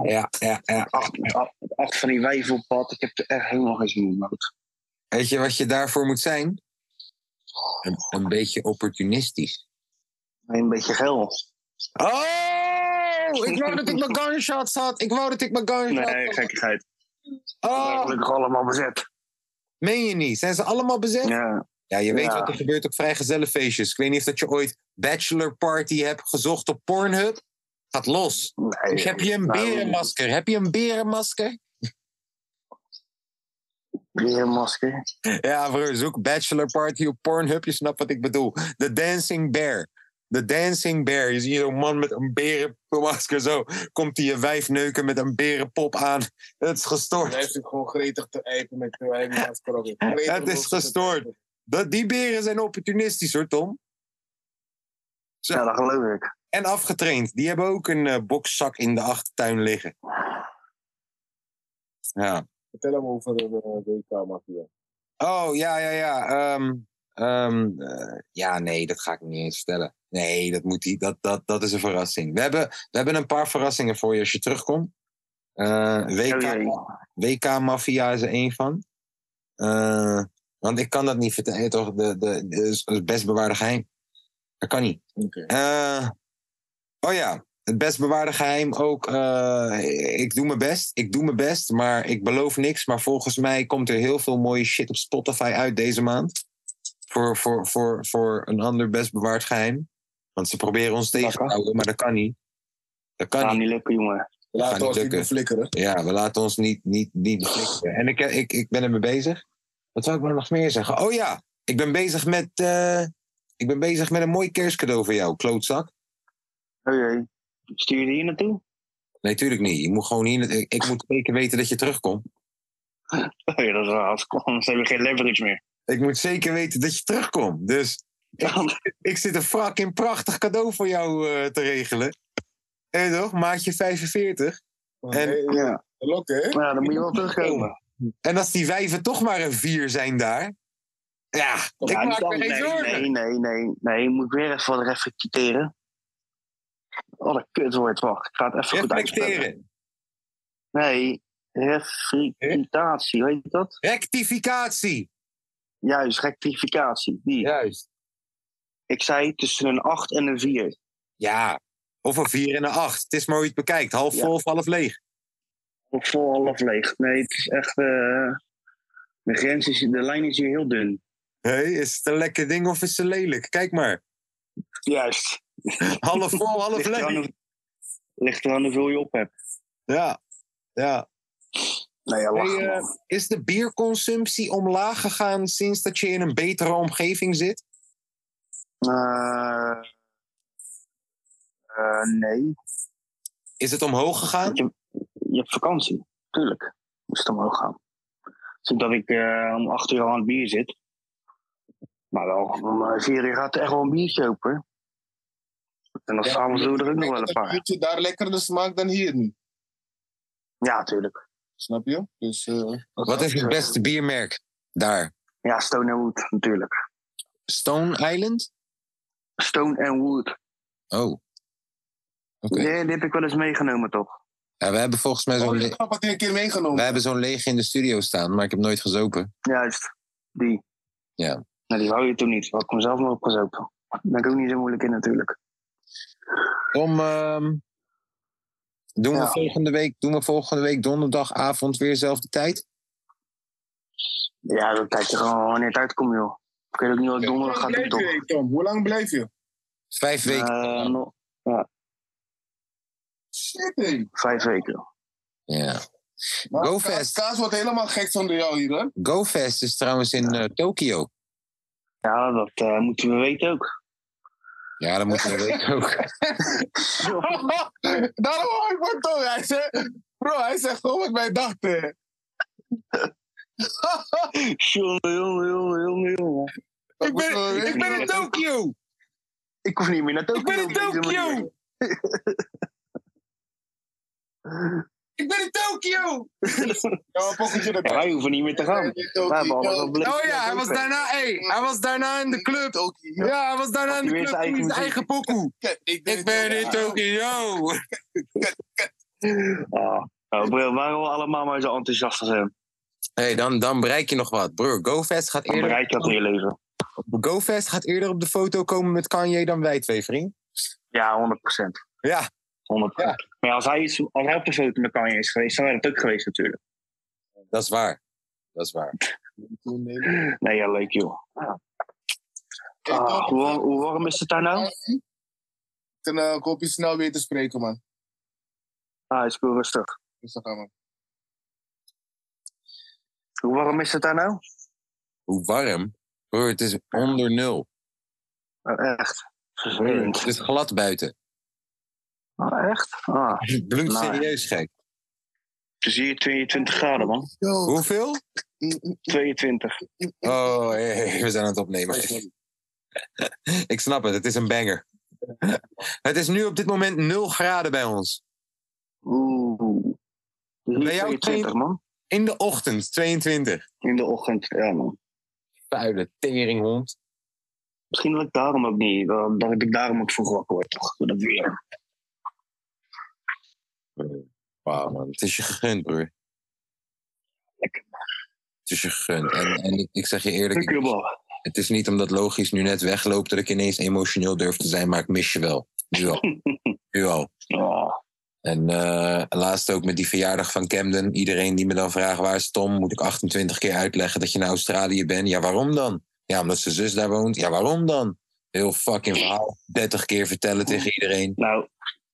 Speaker 1: Ja, ja, ja.
Speaker 2: Acht, acht, acht van die wijven op pad. Ik heb er echt helemaal geen zin in. man.
Speaker 1: Weet je wat je daarvoor moet zijn? Een, een beetje opportunistisch.
Speaker 2: Een beetje geld.
Speaker 1: Oh! Ik wou dat ik mijn gunshots had. Ik wou dat ik mijn gunshots
Speaker 2: Nee,
Speaker 1: had.
Speaker 2: gekkigheid.
Speaker 1: Oh,
Speaker 2: Gelukkig allemaal bezet.
Speaker 1: meen je niet? Zijn ze allemaal bezet? Ja,
Speaker 2: Ja.
Speaker 1: je weet
Speaker 2: Ja.
Speaker 1: wat er gebeurt op vrijgezellenfeestjes. Ik weet niet of dat je ooit bachelor party hebt gezocht op Pornhub. Gaat los.
Speaker 2: Nee,
Speaker 1: heb je een
Speaker 2: nou,
Speaker 1: berenmasker? Heb je een berenmasker?
Speaker 2: Berenmasker.
Speaker 1: Ja, broer, zoek Bachelor Party op Pornhub. Je snapt wat ik bedoel. The Dancing Bear. The Dancing Bear. Je ziet zo'n man met een berenmasker zo. Komt hij je wijf neuken met een berenpop aan. Het is
Speaker 3: Hij
Speaker 1: gestoord.
Speaker 3: heeft zich gewoon gretig te eipen met eh, de wijnmasker op.
Speaker 1: Het is gestoord. Dat, die beren zijn opportunistisch hoor, Tom. Zo.
Speaker 2: Ja, dat geloof ik.
Speaker 1: En afgetraind. Die hebben ook een eh, bokszak in de achtertuin liggen. Ja.
Speaker 3: Vertel hem over de eh, WK, Mathieu.
Speaker 1: Oh, ja, ja, ja. Ehm, ehm, eh, ja, nee, dat ga ik niet eens vertellen. Nee, dat, moet die, dat, dat, dat is een verrassing. We hebben, we hebben een paar verrassingen voor je als je terugkomt. Eh,
Speaker 2: Oh,
Speaker 1: WK,
Speaker 2: jee.
Speaker 1: WK Mafia is er één van. Eh, want ik kan dat niet vertellen, toch? De, de, de is is best bewaarde geheim. Dat kan niet.
Speaker 3: Oké.
Speaker 1: Eh, oh ja, het best bewaarde geheim ook. eh, ik doe mijn best, ik doe mijn best, maar ik beloof niks. Maar volgens mij komt er heel veel mooie shit op Spotify uit deze maand. Voor, voor, voor, voor een ander best bewaard geheim. Want ze proberen ons tegen te
Speaker 2: kan.
Speaker 1: houden, maar dat kan niet. Dat kan
Speaker 2: Gaat
Speaker 1: niet.
Speaker 2: niet lukken, jongen.
Speaker 1: gaat
Speaker 3: Laat
Speaker 1: niet
Speaker 3: ons niet
Speaker 1: lukken.
Speaker 3: beflikkeren.
Speaker 1: Ja, we laten ons niet, niet, niet beflikkeren. En ik, ik, ik ben ermee bezig. Wat zou ik nou nog meer zeggen? Oh ja, ik ben bezig met, eh, ik ben bezig met een mooi kerstcadeau voor jou, klootzak.
Speaker 2: Oh jee. Stuur je die hier naartoe?
Speaker 1: Nee, tuurlijk niet. Je moet gewoon hier. Ik, ik moet zeker weten dat je terugkomt.
Speaker 2: Oh ja, dat is raar. Anders hebben we geen leverage meer.
Speaker 1: Ik moet zeker weten dat je terugkomt. Dus Ik zit een fucking prachtig cadeau voor jou eh, te regelen. Hé toch, maatje 45.
Speaker 2: Oh,
Speaker 1: En-
Speaker 3: Hey,
Speaker 2: Ja.
Speaker 3: Lokken, hè?
Speaker 2: ja, dan moet je wel terugkomen.
Speaker 1: En als die wijven toch maar een vier zijn daar. Ja, ik
Speaker 2: Ja,
Speaker 1: maak
Speaker 2: dan-
Speaker 1: me geen
Speaker 2: nee,
Speaker 1: zorgen.
Speaker 2: nee, nee, nee, nee. Moet ik weer even wat reflecteren? Wat een kutwoord, wacht. Ik ga het even goed uitspreken.
Speaker 1: Reflecteren.
Speaker 2: Nee, rectificatie, weet je dat?
Speaker 1: Rectificatie.
Speaker 2: Juist, rectificatie. Die.
Speaker 1: Juist.
Speaker 2: Ik zei tussen een 8 en een 4.
Speaker 1: Ja, of een vier en een acht. Het is maar hoe je het bekijkt. Half vol of half leeg.
Speaker 2: Of vol half leeg. Nee, het is echt. eh, de, grens is, de lijn is hier heel dun.
Speaker 1: Hé, is het een lekker ding of is het lelijk? Kijk maar.
Speaker 2: Juist.
Speaker 1: Half vol, half
Speaker 2: Ligt eraan,
Speaker 1: leeg.
Speaker 2: hoe- ligt eraan hoeveel je op hebt.
Speaker 1: Ja, ja.
Speaker 2: Nee, ja, lach
Speaker 1: Hey, eh,
Speaker 2: man.
Speaker 1: is de bierconsumptie omlaag gegaan sinds dat je in een betere omgeving zit?
Speaker 2: Eh, eh, nee.
Speaker 1: Is het omhoog gegaan?
Speaker 2: Je, je hebt vakantie. Tuurlijk. Moest het omhoog gaan. Zodat ik eh, om 8 uur al aan het bier zit. Maar wel, om eh, 4 uur gaat er echt wel een biertje open. hoor. En dan
Speaker 3: Ja,
Speaker 2: s'avonds doen we er ook nog wel een paar.
Speaker 3: Vind je daar lekkerder smaak dan hier nu?
Speaker 2: Ja, tuurlijk.
Speaker 3: Snap je? Dus, eh,
Speaker 1: Wat is het beste biermerk daar?
Speaker 2: Ja, Stone and Wood, natuurlijk.
Speaker 1: Stone Island?
Speaker 2: Stone and Wood.
Speaker 1: Oh. Oké.
Speaker 2: Nee, die heb ik wel eens meegenomen, toch?
Speaker 1: Ja, we hebben volgens mij
Speaker 3: Oh,
Speaker 1: zo'n
Speaker 3: ik
Speaker 1: le-
Speaker 3: heb het een keer meegenomen.
Speaker 1: we hebben zo'n leeg in de studio staan, maar ik heb nooit gezopen.
Speaker 2: Juist, die.
Speaker 1: Ja.
Speaker 2: Nou, die wou je toen niet. Had ik mezelf maar opgezopen. Daar ben ik ook niet zo moeilijk in, natuurlijk.
Speaker 1: Tom, ehm, doen, we
Speaker 2: Ja.
Speaker 1: volgende week, doen we volgende week donderdagavond weer dezelfde tijd?
Speaker 2: Ja, dan kijk je gewoon wanneer het uitkomt, joh. Ik weet ook niet wat ik donderdag ga doen,
Speaker 3: blijf
Speaker 2: toch?
Speaker 3: je, Tom? Hoe lang blijf je?
Speaker 1: Vijf weken.
Speaker 2: Eh, nog
Speaker 3: Shit, hé.
Speaker 2: vijf weken.
Speaker 1: Ja.
Speaker 3: Maar
Speaker 1: Go
Speaker 3: Kaas-
Speaker 1: fast.
Speaker 3: Kaas wordt helemaal gek zonder jou hier, hoor.
Speaker 1: GoFest is trouwens in eh, Tokio.
Speaker 2: Ja, dat eh, moeten we weten ook.
Speaker 1: Ja, dat moeten we weten ook.
Speaker 3: Daarom hoor ik van Tom. Hij zegt, bro, hij zegt gewoon wat wij dachten.
Speaker 2: jongen, jongen, jongen, jongen, jongen.
Speaker 3: Ik ben,
Speaker 2: ik ben in
Speaker 3: Tokio.
Speaker 2: Ik hoef niet meer naar Tokio.
Speaker 3: Ik ben in
Speaker 2: op deze
Speaker 3: Tokio.
Speaker 2: manier.
Speaker 3: Ik ben in Tokio. ja, een pokketje dat
Speaker 2: Ja, wij hoeven niet meer te gaan. Wij hebben allemaal zo'n blik.
Speaker 3: Oh
Speaker 1: hey,
Speaker 3: hij was
Speaker 1: daarna in
Speaker 3: de club. Tokio.
Speaker 1: Ja, hij was daarna
Speaker 2: in de club, toen is zijn eigen
Speaker 1: pokoe.
Speaker 3: Ik
Speaker 1: Tokio.
Speaker 2: Ah, nou, bro, waarom we allemaal maar zo enthousiast zijn?
Speaker 1: hey, dan, dan bereik je nog wat. Broer, GoFest gaat,
Speaker 2: Dan
Speaker 1: eerder,
Speaker 2: bereik je dat in je leven.
Speaker 1: GoFest gaat eerder op de foto komen met Kanye dan wij twee, vriend.
Speaker 2: Ja, 100%.
Speaker 1: Ja,
Speaker 2: 100%. Maar ja, als hij, iets, als hij op de foto met Kanye is geweest, dan wij dat ook geweest natuurlijk.
Speaker 1: dat is waar. Dat is waar.
Speaker 2: Nee, ja, leuk joh. Ah, hoe, warm- hoe warm is het daar nou?
Speaker 3: Dan eh, ik hoop je snel weer te spreken, man.
Speaker 2: Ah, is wel rustig.
Speaker 3: Rustig aan, man.
Speaker 2: Hoe warm is het daar nou?
Speaker 1: Hoe warm? Broer, het is onder nul.
Speaker 2: Oh, echt.
Speaker 1: Broer, het
Speaker 2: Vervelend.
Speaker 1: is glad buiten.
Speaker 2: Oh, echt? Ah,
Speaker 1: Bloed
Speaker 2: Nou.
Speaker 1: serieus gek.
Speaker 2: het is hier 22 graden, man.
Speaker 1: Hoeveel?
Speaker 2: 22.
Speaker 1: Oh, hey, hey, we zijn aan het opnemen. Ik snap het, het is een banger. Het is nu op dit moment 0 graden bij ons.
Speaker 2: Oeh. Het is
Speaker 1: Bij
Speaker 2: hier
Speaker 1: jou
Speaker 2: 22, man.
Speaker 1: In de ochtend, 22.
Speaker 2: In de ochtend, ja, man.
Speaker 1: Vuile teringhond.
Speaker 2: Misschien dat ik daarom ook niet, dat dat ik daarom ook vroeg wakker word, toch? Door Dat weer.
Speaker 1: Wauw, man. Het is je gegund, broer.
Speaker 2: Lekker.
Speaker 1: Het is je gegund. En, en ik, ik zeg je eerlijk,
Speaker 2: Lekker,
Speaker 1: ik-
Speaker 2: man.
Speaker 1: het is niet omdat logisch nu net wegloopt dat ik ineens emotioneel durf te zijn, maar ik mis je wel. Nu al. Nu al.
Speaker 2: Ah,
Speaker 1: En eh, laatst ook met die verjaardag van Camden. Iedereen die me dan vraagt waar is Tom, moet ik 28 keer uitleggen dat je naar Australië bent. Ja, waarom dan? Ja, omdat zijn zus daar woont. Ja, waarom dan? Heel fucking verhaal. 30 keer vertellen tegen iedereen.
Speaker 2: nou,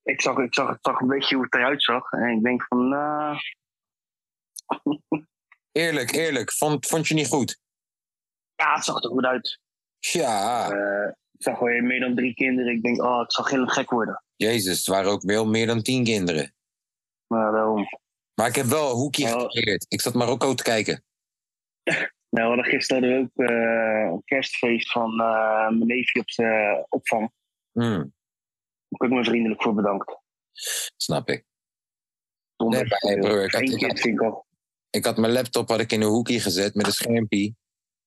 Speaker 2: ik zag, ik, zag, ik zag een beetje hoe het eruit zag. En ik denk van, nou...
Speaker 1: Eerlijk, eerlijk. Vond, vond je niet goed?
Speaker 2: ja, het zag er goed uit.
Speaker 1: Ja,
Speaker 2: Eh, ik zag weer meer dan drie kinderen. Ik denk, oh, het zal heel gek worden.
Speaker 1: jezus, het waren ook wel meer dan 10 kinderen.
Speaker 2: Maar eh, daarom...
Speaker 1: Maar ik heb wel een hoekje
Speaker 2: Oh.
Speaker 1: gecreëerd. Ik zat Marokko te kijken.
Speaker 2: Nou, we hadden gisteren hadden we ook eh, een kerstfeest van eh, mijn neefje op zijn opvang. Daar
Speaker 1: Hmm,
Speaker 2: heb ik me vriendelijk voor bedankt.
Speaker 1: snap ik.
Speaker 2: Zonder
Speaker 1: Nee, maar, broer, ik had-
Speaker 2: Eén kind vind ik al.
Speaker 1: Ik had mijn laptop had ik in een hoekje gezet met een schermpje.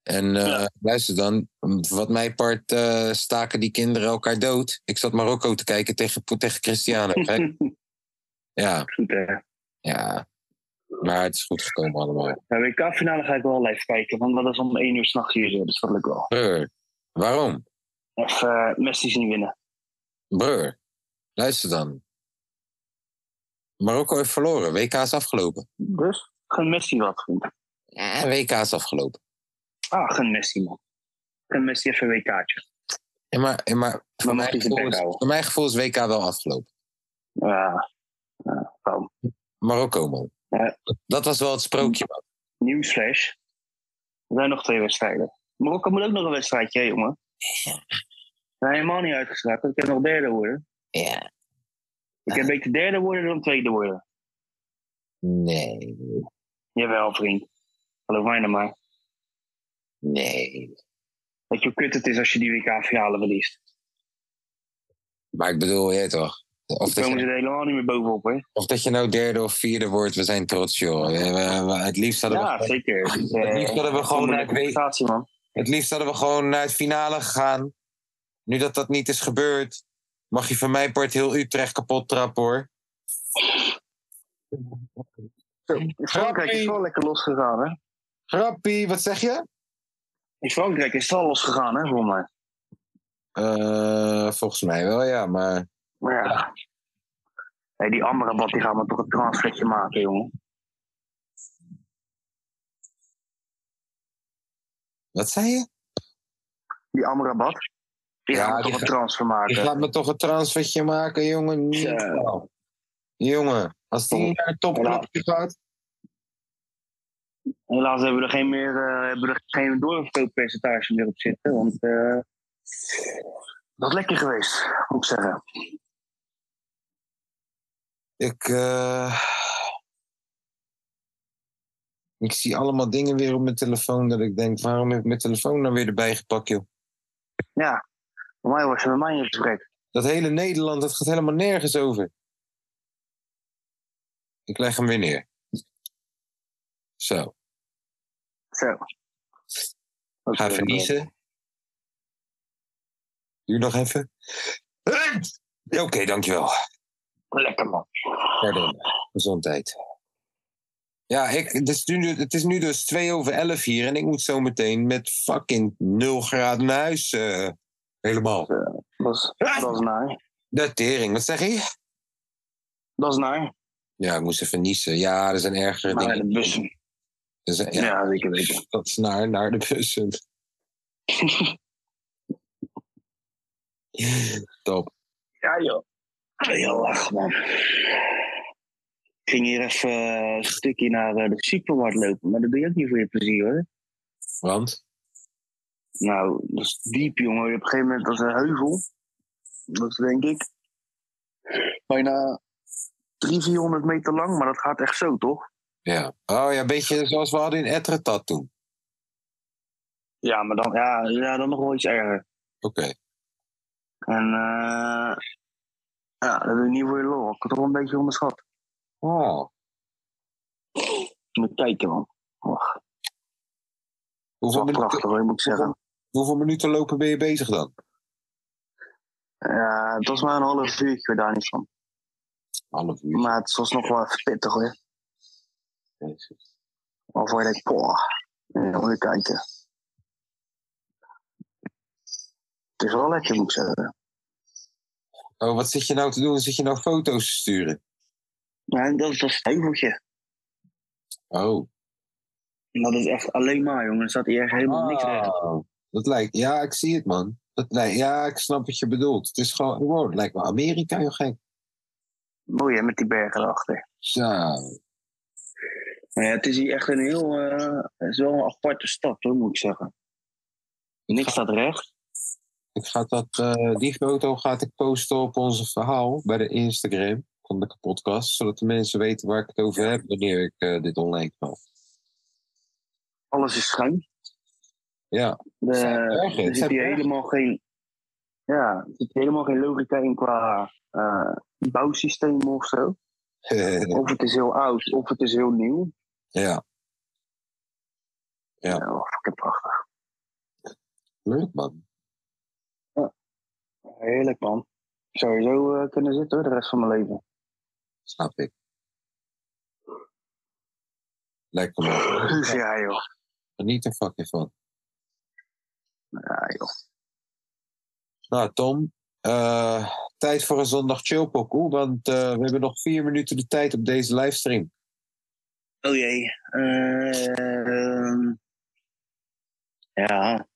Speaker 1: En eh,
Speaker 2: Ja.
Speaker 1: luister dan, wat mij part eh, staken die kinderen elkaar dood. Ik zat Marokko te kijken tegen, tegen Cristiano. gek. ja,
Speaker 2: Goed, hè.
Speaker 1: ja. Maar het is goed gekomen allemaal.
Speaker 2: Bij WK-finale ga ik wel live kijken, want dat is om 1 uur s'nachts hier, zo, dus dat lukt wel.
Speaker 1: Brr, waarom?
Speaker 2: Of eh Messi is niet winnen.
Speaker 1: Brr, luister dan. Marokko heeft verloren. WK is afgelopen.
Speaker 2: Dus? Gun Messi wat. vriend.
Speaker 1: Ja, WK is afgelopen.
Speaker 2: Ah, gun Messi, man. Gun Messi even een WK'tje.
Speaker 1: Ja, maar, ja, maar voor,
Speaker 2: Dan mag
Speaker 1: mijn
Speaker 2: hij zijn
Speaker 1: gevoel
Speaker 2: bek
Speaker 1: is,
Speaker 2: houden.
Speaker 1: voor mijn gevoel is WK wel afgelopen.
Speaker 2: Ja,
Speaker 1: Marokko, man.
Speaker 2: Ja.
Speaker 1: Dat was wel het sprookje, man.
Speaker 2: nieuwsflash. Er zijn nog twee wedstrijden. Marokko moet ook nog een wedstrijdje, hè, jongen. We zijn helemaal niet uitgeschakeld. Ik kan nog derde worden.
Speaker 1: Ja.
Speaker 2: Ik kan beter derde worden dan tweede worden.
Speaker 1: Nee,
Speaker 2: Jawel, vriend. Geloof mij nou maar.
Speaker 1: nee.
Speaker 2: Weet je hoe kut het is als je die WK-finale verliest?
Speaker 1: Maar ik bedoel, jij toch? Of
Speaker 2: Dan
Speaker 1: dat,
Speaker 2: komen ze
Speaker 1: je,
Speaker 2: er helemaal niet meer bovenop, hè?
Speaker 1: of dat je nou derde of vierde wordt, we zijn trots, joh. We- we- we- het, liefst hadden
Speaker 2: Ja,
Speaker 1: we,
Speaker 2: zeker. Het is,
Speaker 1: het liefst
Speaker 2: eh,
Speaker 1: hadden we gewoon
Speaker 2: een
Speaker 1: naar het W-
Speaker 2: prestatie, man.
Speaker 1: het liefst hadden we gewoon naar het finale gegaan. Nu dat dat niet is gebeurd, mag je van mijn part heel Utrecht kapot trappen, hoor.
Speaker 2: Frankrijk is wel lekker losgegaan, hè?
Speaker 1: Grappie, wat zeg je?
Speaker 2: In Frankrijk is het al losgegaan, hè, voor mij.
Speaker 1: Eh, volgens mij wel, ja, maar...
Speaker 2: Maar ja. Hey, die Amrabat die gaat me toch een transfertje maken, jongen.
Speaker 1: Wat zei je?
Speaker 2: Die Amrabat. Die
Speaker 1: Ja,
Speaker 2: gaat me
Speaker 1: die
Speaker 2: toch een
Speaker 1: gaat-
Speaker 2: transfer
Speaker 1: Je
Speaker 2: maken. Eh,
Speaker 1: gaat me toch een transfertje maken, jongen? Niet
Speaker 2: Ja.
Speaker 1: normaal. Jongen, als die naar een topclubje gaat...
Speaker 2: Helaas hebben we er geen, meer, eh, hebben we er geen doorverkooppercentage meer op zitten. Want eh, dat is lekker geweest, moet ik zeggen.
Speaker 1: Ik, eh, ik zie allemaal dingen weer op mijn telefoon dat ik denk, waarom heb ik mijn telefoon nou weer erbij gepakt, joh?
Speaker 2: Ja, voor mij was je bij mij in gesprek.
Speaker 1: Dat hele Nederland, dat gaat helemaal nergens over. Ik leg hem weer neer. Zo,
Speaker 2: Zo. eh,
Speaker 1: ga even niezen. Duur nog even. Oké, dankjewel.
Speaker 2: Lekker man.
Speaker 1: Pardon, gezondheid. Ja, ik, het, is nu, het is nu dus 2 over 11 hier en ik moet zo meteen met fucking 0 graden naar huis. eh, helemaal.
Speaker 2: Dat is, dat is naar.
Speaker 1: De tering, wat zeg je?
Speaker 2: Dat is naar.
Speaker 1: Ja, ik moest even niezen. Ja, er zijn ergere
Speaker 2: Maar
Speaker 1: dingen.
Speaker 2: de bussen.
Speaker 1: Er zijn-
Speaker 2: Ja,
Speaker 1: ja,
Speaker 2: zeker weten.
Speaker 1: Dat is naar, naar de bussen. Top.
Speaker 2: Ja, joh. Ja, joh, ach, man. Ik ging hier even eh, een stukje naar eh, de supermarkt lopen, maar dat doe je ook niet voor je plezier hoor.
Speaker 1: Want?
Speaker 2: Nou, dat is diep, jongen. Op een gegeven moment, dat is een heuvel. Dat is denk ik bijna 300, 400 meter lang, maar dat gaat echt zo, toch?
Speaker 1: Ja. Oh ja, een beetje zoals we hadden in Etretat toen.
Speaker 2: Ja, maar dan, ja, ja, dan nog wel iets erger.
Speaker 1: Oké.
Speaker 2: En eh, ja, dat doe je niet voor je lol. Ik had het toch wel een beetje onderschat.
Speaker 1: Oh.
Speaker 2: Je moet kijken, man. Och, dat is
Speaker 1: Hoeveel
Speaker 2: wel
Speaker 1: minuten,
Speaker 2: prachtig, hoor, moet ik zeggen.
Speaker 1: hoeveel minuten lopen ben je bezig dan?
Speaker 2: Ja, het was maar een half uurtje daar niet van.
Speaker 1: Half uur.
Speaker 2: Maar het was nog wel even pittig hoor. Waarvoor je denkt, poh, ja, moet je kijken. Het is wel lekker, moet ik zeggen.
Speaker 1: Oh, wat zit je nou te doen? Zit je nou foto's te sturen?
Speaker 2: Ja, dat is dat heuveltje.
Speaker 1: Oh.
Speaker 2: Dat is echt alleen maar, jongen. Er staat hier echt helemaal niks tegen.
Speaker 1: Oh, Dat lijkt, ja, ik zie het, man. Dat lijkt, ja, ik snap wat je bedoelt. Het is gewoon, wow, het lijkt wel Amerika, joh, gek.
Speaker 2: Mooi hè, met die bergen erachter.
Speaker 1: Zo.
Speaker 2: Maar ja, het is hier echt een heel... eh, het is wel een aparte stad, hoor, moet ik zeggen. Niks staat recht.
Speaker 1: Ik ga dat, eh, die foto gaat ik posten op onze verhaal bij de Instagram van de podcast. Zodat de mensen weten waar ik het over heb wanneer ik eh, dit online knal.
Speaker 2: Alles is schuin.
Speaker 1: Ja.
Speaker 2: De,
Speaker 1: Zijn bergen,
Speaker 2: er
Speaker 1: het
Speaker 2: zit
Speaker 1: zijn
Speaker 2: hier
Speaker 1: bergen.
Speaker 2: Dus helemaal geen, ja, er zit helemaal geen logica in qua eh bouwsysteem of zo. Of het is heel oud, of het is heel nieuw.
Speaker 1: ja, Ja.
Speaker 2: Ja, oh, fucking prachtig.
Speaker 1: leuk man.
Speaker 2: Heerlijk man. Sowieso eh kunnen zitten hoor, de rest van mijn leven.
Speaker 1: Snap ik. Lekker man.
Speaker 2: Dus ja joh.
Speaker 1: Geniet er fucking van.
Speaker 2: Ja, joh.
Speaker 1: Nou, Tom. eh, tijd voor een zondag chillpokoe, want eh, we hebben nog vier minuten de tijd op deze livestream.
Speaker 2: Oh jee. Ehm, ja.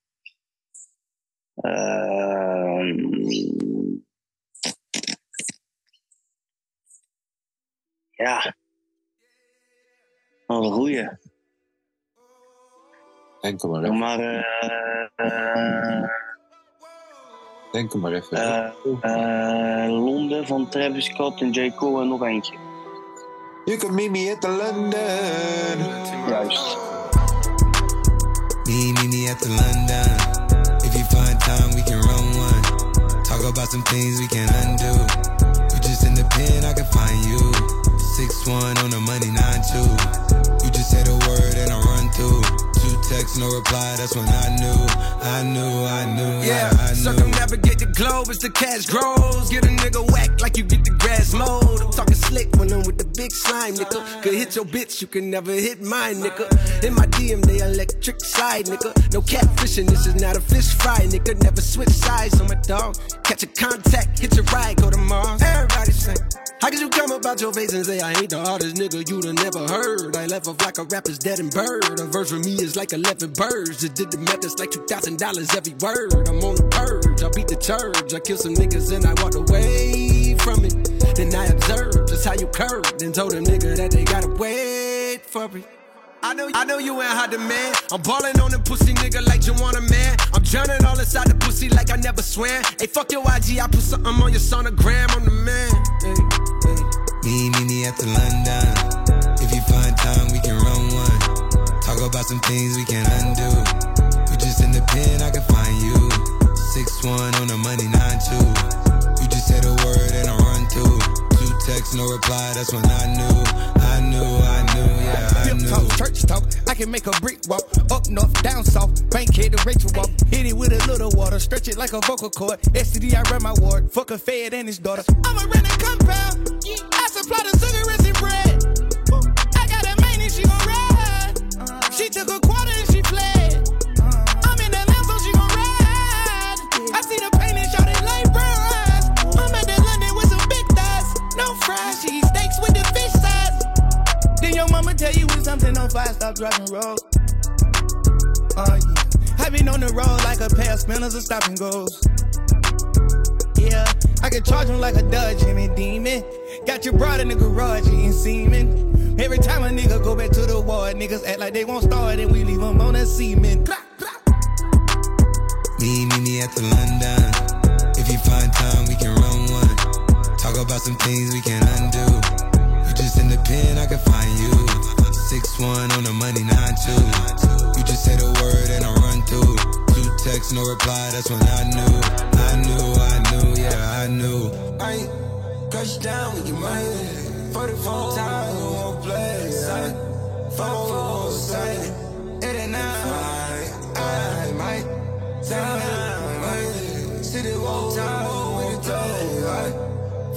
Speaker 2: Ehm, ja. Wat een goeie.
Speaker 1: Denk er maar
Speaker 2: Doe
Speaker 1: even.
Speaker 2: maar. eh, eh,
Speaker 1: Denk er maar even.
Speaker 2: eh, eh, Londen van Travis Scott en J. Cole en nog eentje.
Speaker 1: you can meet me at the London.
Speaker 2: Juist.
Speaker 4: Me, me, me at the London. If you find time, we can run one. Talk about some things we can undo. You just in the pen, I can find you. Six one on the money, nine two. You just say the word and I run through. Two texts, no reply. That's when I knew, I knew, I knew,
Speaker 5: Yeah,
Speaker 4: I, I knew.
Speaker 5: circumnavigate the globe as the cash grows. Get a nigga whack like you get the grass mowed. I'm talking slick when I'm with the big slime, nigga. Could hit your bitch, you can never hit mine, nigga. In my DM, they electric side, nigga. No catfishing, this is not a fish fry, nigga. Never switch sides on my dog. Catch a contact, hit your ride, go to Mars. Everybody sing. How could you come about your face and say I ain't the hardest nigga you done never heard? I left off like a rapper's dead and bird. A verse for me is like 11 birds. Just did the math, it's like $2,000 every word. I'm on the purge, I beat the church. I killed some niggas and I walked away from it. Then I observed just how you curved and told a nigga that they gotta wait for it. I know, I know you ain't hot demand. I'm ballin' on the pussy nigga like you want a man. I'm drowning all inside the pussy like I never swam. Hey, fuck your IG, I put something on your sonogram. I'm the man. Hey, hey.
Speaker 4: Me, me, me at the London. If you find time, we can run one. Talk about some things we can undo. You just in the pen, I can find you. Six one on the money, nine two. You just say the word and I run through. Two texts, no reply. That's when I knew, I knew, I knew, yeah, I
Speaker 5: Pimp
Speaker 4: knew.
Speaker 5: talk, church talk. I can make a brick walk. Up north, down south. Bank head to Rachel walk. Hit it with a little water. Stretch it like a vocal cord. STD, I ran my ward. Fuck a fed and his daughter. I'ma rent a compound. I supply the cigarettes and bread. I got a man and she gon' ride. She took a quarter and she fled. I'm in the lamb, so she gon' ride. I see the pain and shot it like bronze. I'm at the London with some big thighs. No fries, she eat steaks with the fish size. Then your mama tell you when something on fire, stop driving road. Uh, yeah. I've been on the road like a pair of spinners or stop and goes. Yeah, I can charge him like a dungeon and demon. Got your broad in the garage eating semen. Every time a nigga go back to the ward, niggas act like they won't start and we leave them on a semen. Blah, blah.
Speaker 4: Me, me, me at the London. If you find time, we can run one. Talk about some things we can undo. You just in the pen, I can find you. Six one on the money, nine two. You just say the word and I run through. Two texts, no reply. That's when I knew, I knew, I knew, yeah, I knew. I ain't cut you down with your money. For the phone time, we won't play. Son. Phone, phone, sight. It ain't fine. I might. Time, right? City walk time when it does, right?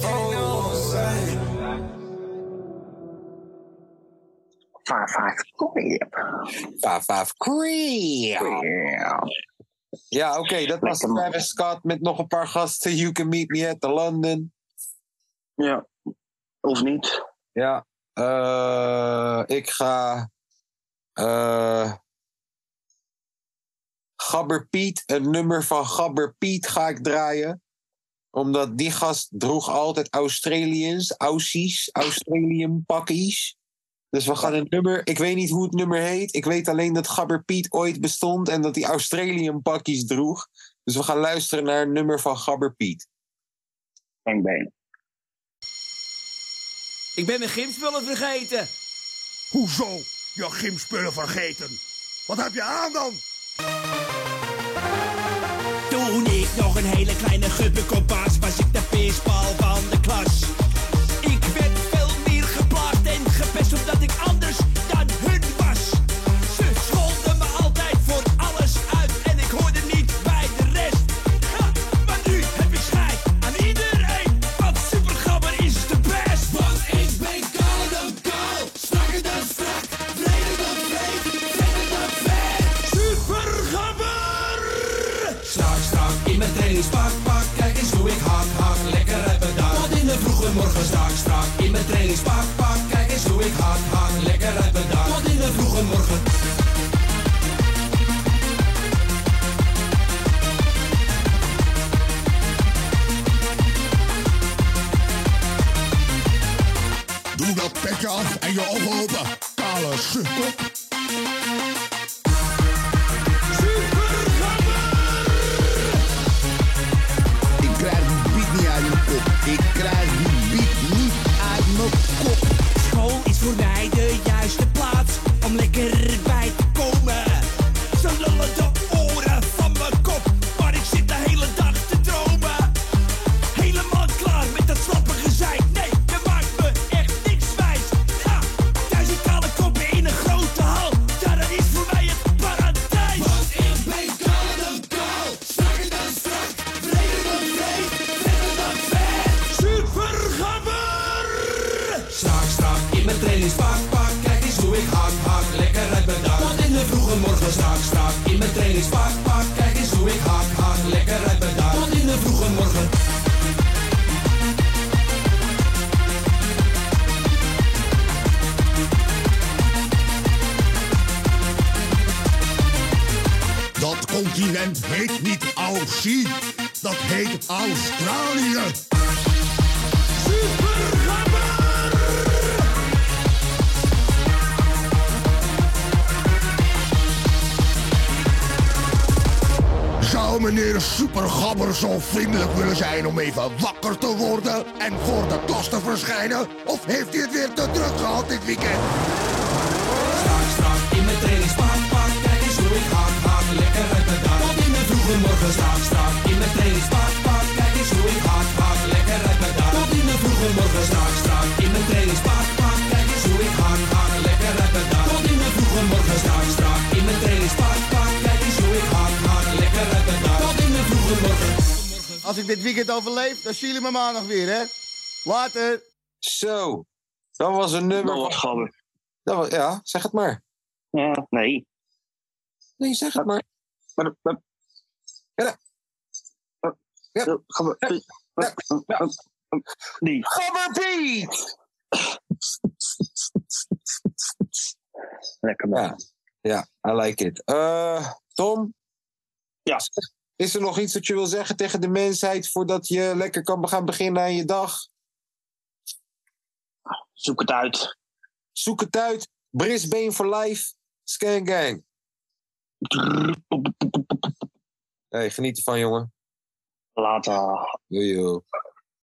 Speaker 4: Phone on sight.
Speaker 2: Five, five, crap.
Speaker 1: 5-5 Korea.
Speaker 2: Ja.
Speaker 1: Ja, oké, dat was
Speaker 2: Lekker man.
Speaker 1: Travis Scott met nog een paar gasten. You can meet me at the London.
Speaker 2: ja. Of niet?
Speaker 1: Ja. eh, ik ga. eh, Gabber Piet, een nummer van Gabber Piet ga ik draaien. Omdat die gast droeg altijd Australiërs, Aussies, Australian pakkies. Dus we gaan een nummer. Ik weet niet hoe het nummer heet. Ik weet alleen dat Gabber Piet ooit bestond en dat hij Australian pakkies droeg. Dus we gaan luisteren naar een nummer van Gabber Piet.
Speaker 2: Bang, bang.
Speaker 5: Ik ben mijn gymspullen vergeten.
Speaker 6: Hoezo? Je gymspullen vergeten. Wat heb je aan dan? een hele kleine gubbe kompas was ik de feestbal van de klas. Ik werd veel meer geplaagd en gepest omdat ik anders dan hun was. Ze scholden me altijd voor alles uit en ik hoorde niet bij de rest. Ha, maar nu heb ik schijt aan iedereen, want Supergabber is de best. Want ik ben kaal dan kaal, strakker dan strak, vreder dan vreed, verder dan ver. Supergabber! Strak, strak, in mijn trainingspak, pak, kijk eens hoe ik hak, hak, lekker uit mijn dak. Tot in de vroege morgen, strak, strak, in mijn trainingspak, pak, kijk eens hoe ik hak, hak, lekker uit mijn dak. Tot in de vroege morgen.
Speaker 7: Doe dat petje af en je ogen open. Kale sukkel. Ik krijg die beat niet uit mijn kop. Ik krijg die beat niet uit mijn kop.
Speaker 6: School is voor mij de juiste plaats om lekker bij te komen. Ze lullen de oren van mijn kop, maar ik zit de hele dag te dromen. Helemaal klaar met dat slappe gezeik. Nee, dat maakt me echt niks wijs. Ja, duizend kale koppen in een grote hal. Ja, dat is voor mij het paradijs. Want ik ben kaal dan kaal, strakker dan strak, vreder dan vreed, verder dan ver. Supergabber! Strak, strak, in mijn trainingspak, pak, kijk eens hoe ik hak, hak, lekker uit mijn dak. Tot in de vroege morgen, strak, strak, in mijn trainingspak, pak, kijk eens hoe ik hak, hak, lekker uit mijn dak. Tot in de vroege morgen.
Speaker 7: Dat continent heet niet Aussie. Dat heet Australië. Zou meneer Supergabber zo vriendelijk willen zijn om even wakker te worden en voor de klas te verschijnen? Of heeft hij het weer te druk gehad dit weekend?
Speaker 6: Strak, strak, in mijn trainingspak, pak, kijk eens hoe ik hak, hak, lekker uit mijn dak. Tot in de vroege morgen, strak, strak, in mijn trainingspak, pak, kijk eens hoe ik hak, hak, lekker uit mijn dak. Tot in de vroege morgen, strak, strak, in mijn trainingspak, pak, kijk eens hoe ik hak, hak, lekker uit mijn dak. Tot in de vroege morgen, strak, strak, in mijn trainingspak, pak, kijk eens hoe ik hak, hak, lekker uit mijn dak. Tot in de vroege morgen.
Speaker 8: Als ik dit weekend overleef, dan zien jullie me maandag weer, hè? Later.
Speaker 4: Zo, dat was een nummer.
Speaker 2: Dat was gabber.
Speaker 4: Dat was- ja, zeg het maar.
Speaker 2: Ja, nee.
Speaker 4: Nee, zeg het maar.
Speaker 2: Maar dat- dat-
Speaker 4: Ja.
Speaker 2: Dat-
Speaker 4: Ja.
Speaker 2: dat- gabber- dat- dat- dat- Die.
Speaker 4: Gabber Piet!
Speaker 2: Lekker man.
Speaker 4: Ja. Ja, I like it. Eh, Tom?
Speaker 2: Ja.
Speaker 4: Is er nog iets dat je wil zeggen tegen de mensheid voordat je lekker kan gaan beginnen aan je dag?
Speaker 2: Zoek het uit.
Speaker 4: Zoek het uit. Brisbane for life. Scan gang. Hey, geniet ervan, jongen.
Speaker 2: Later.
Speaker 4: Yo, yo.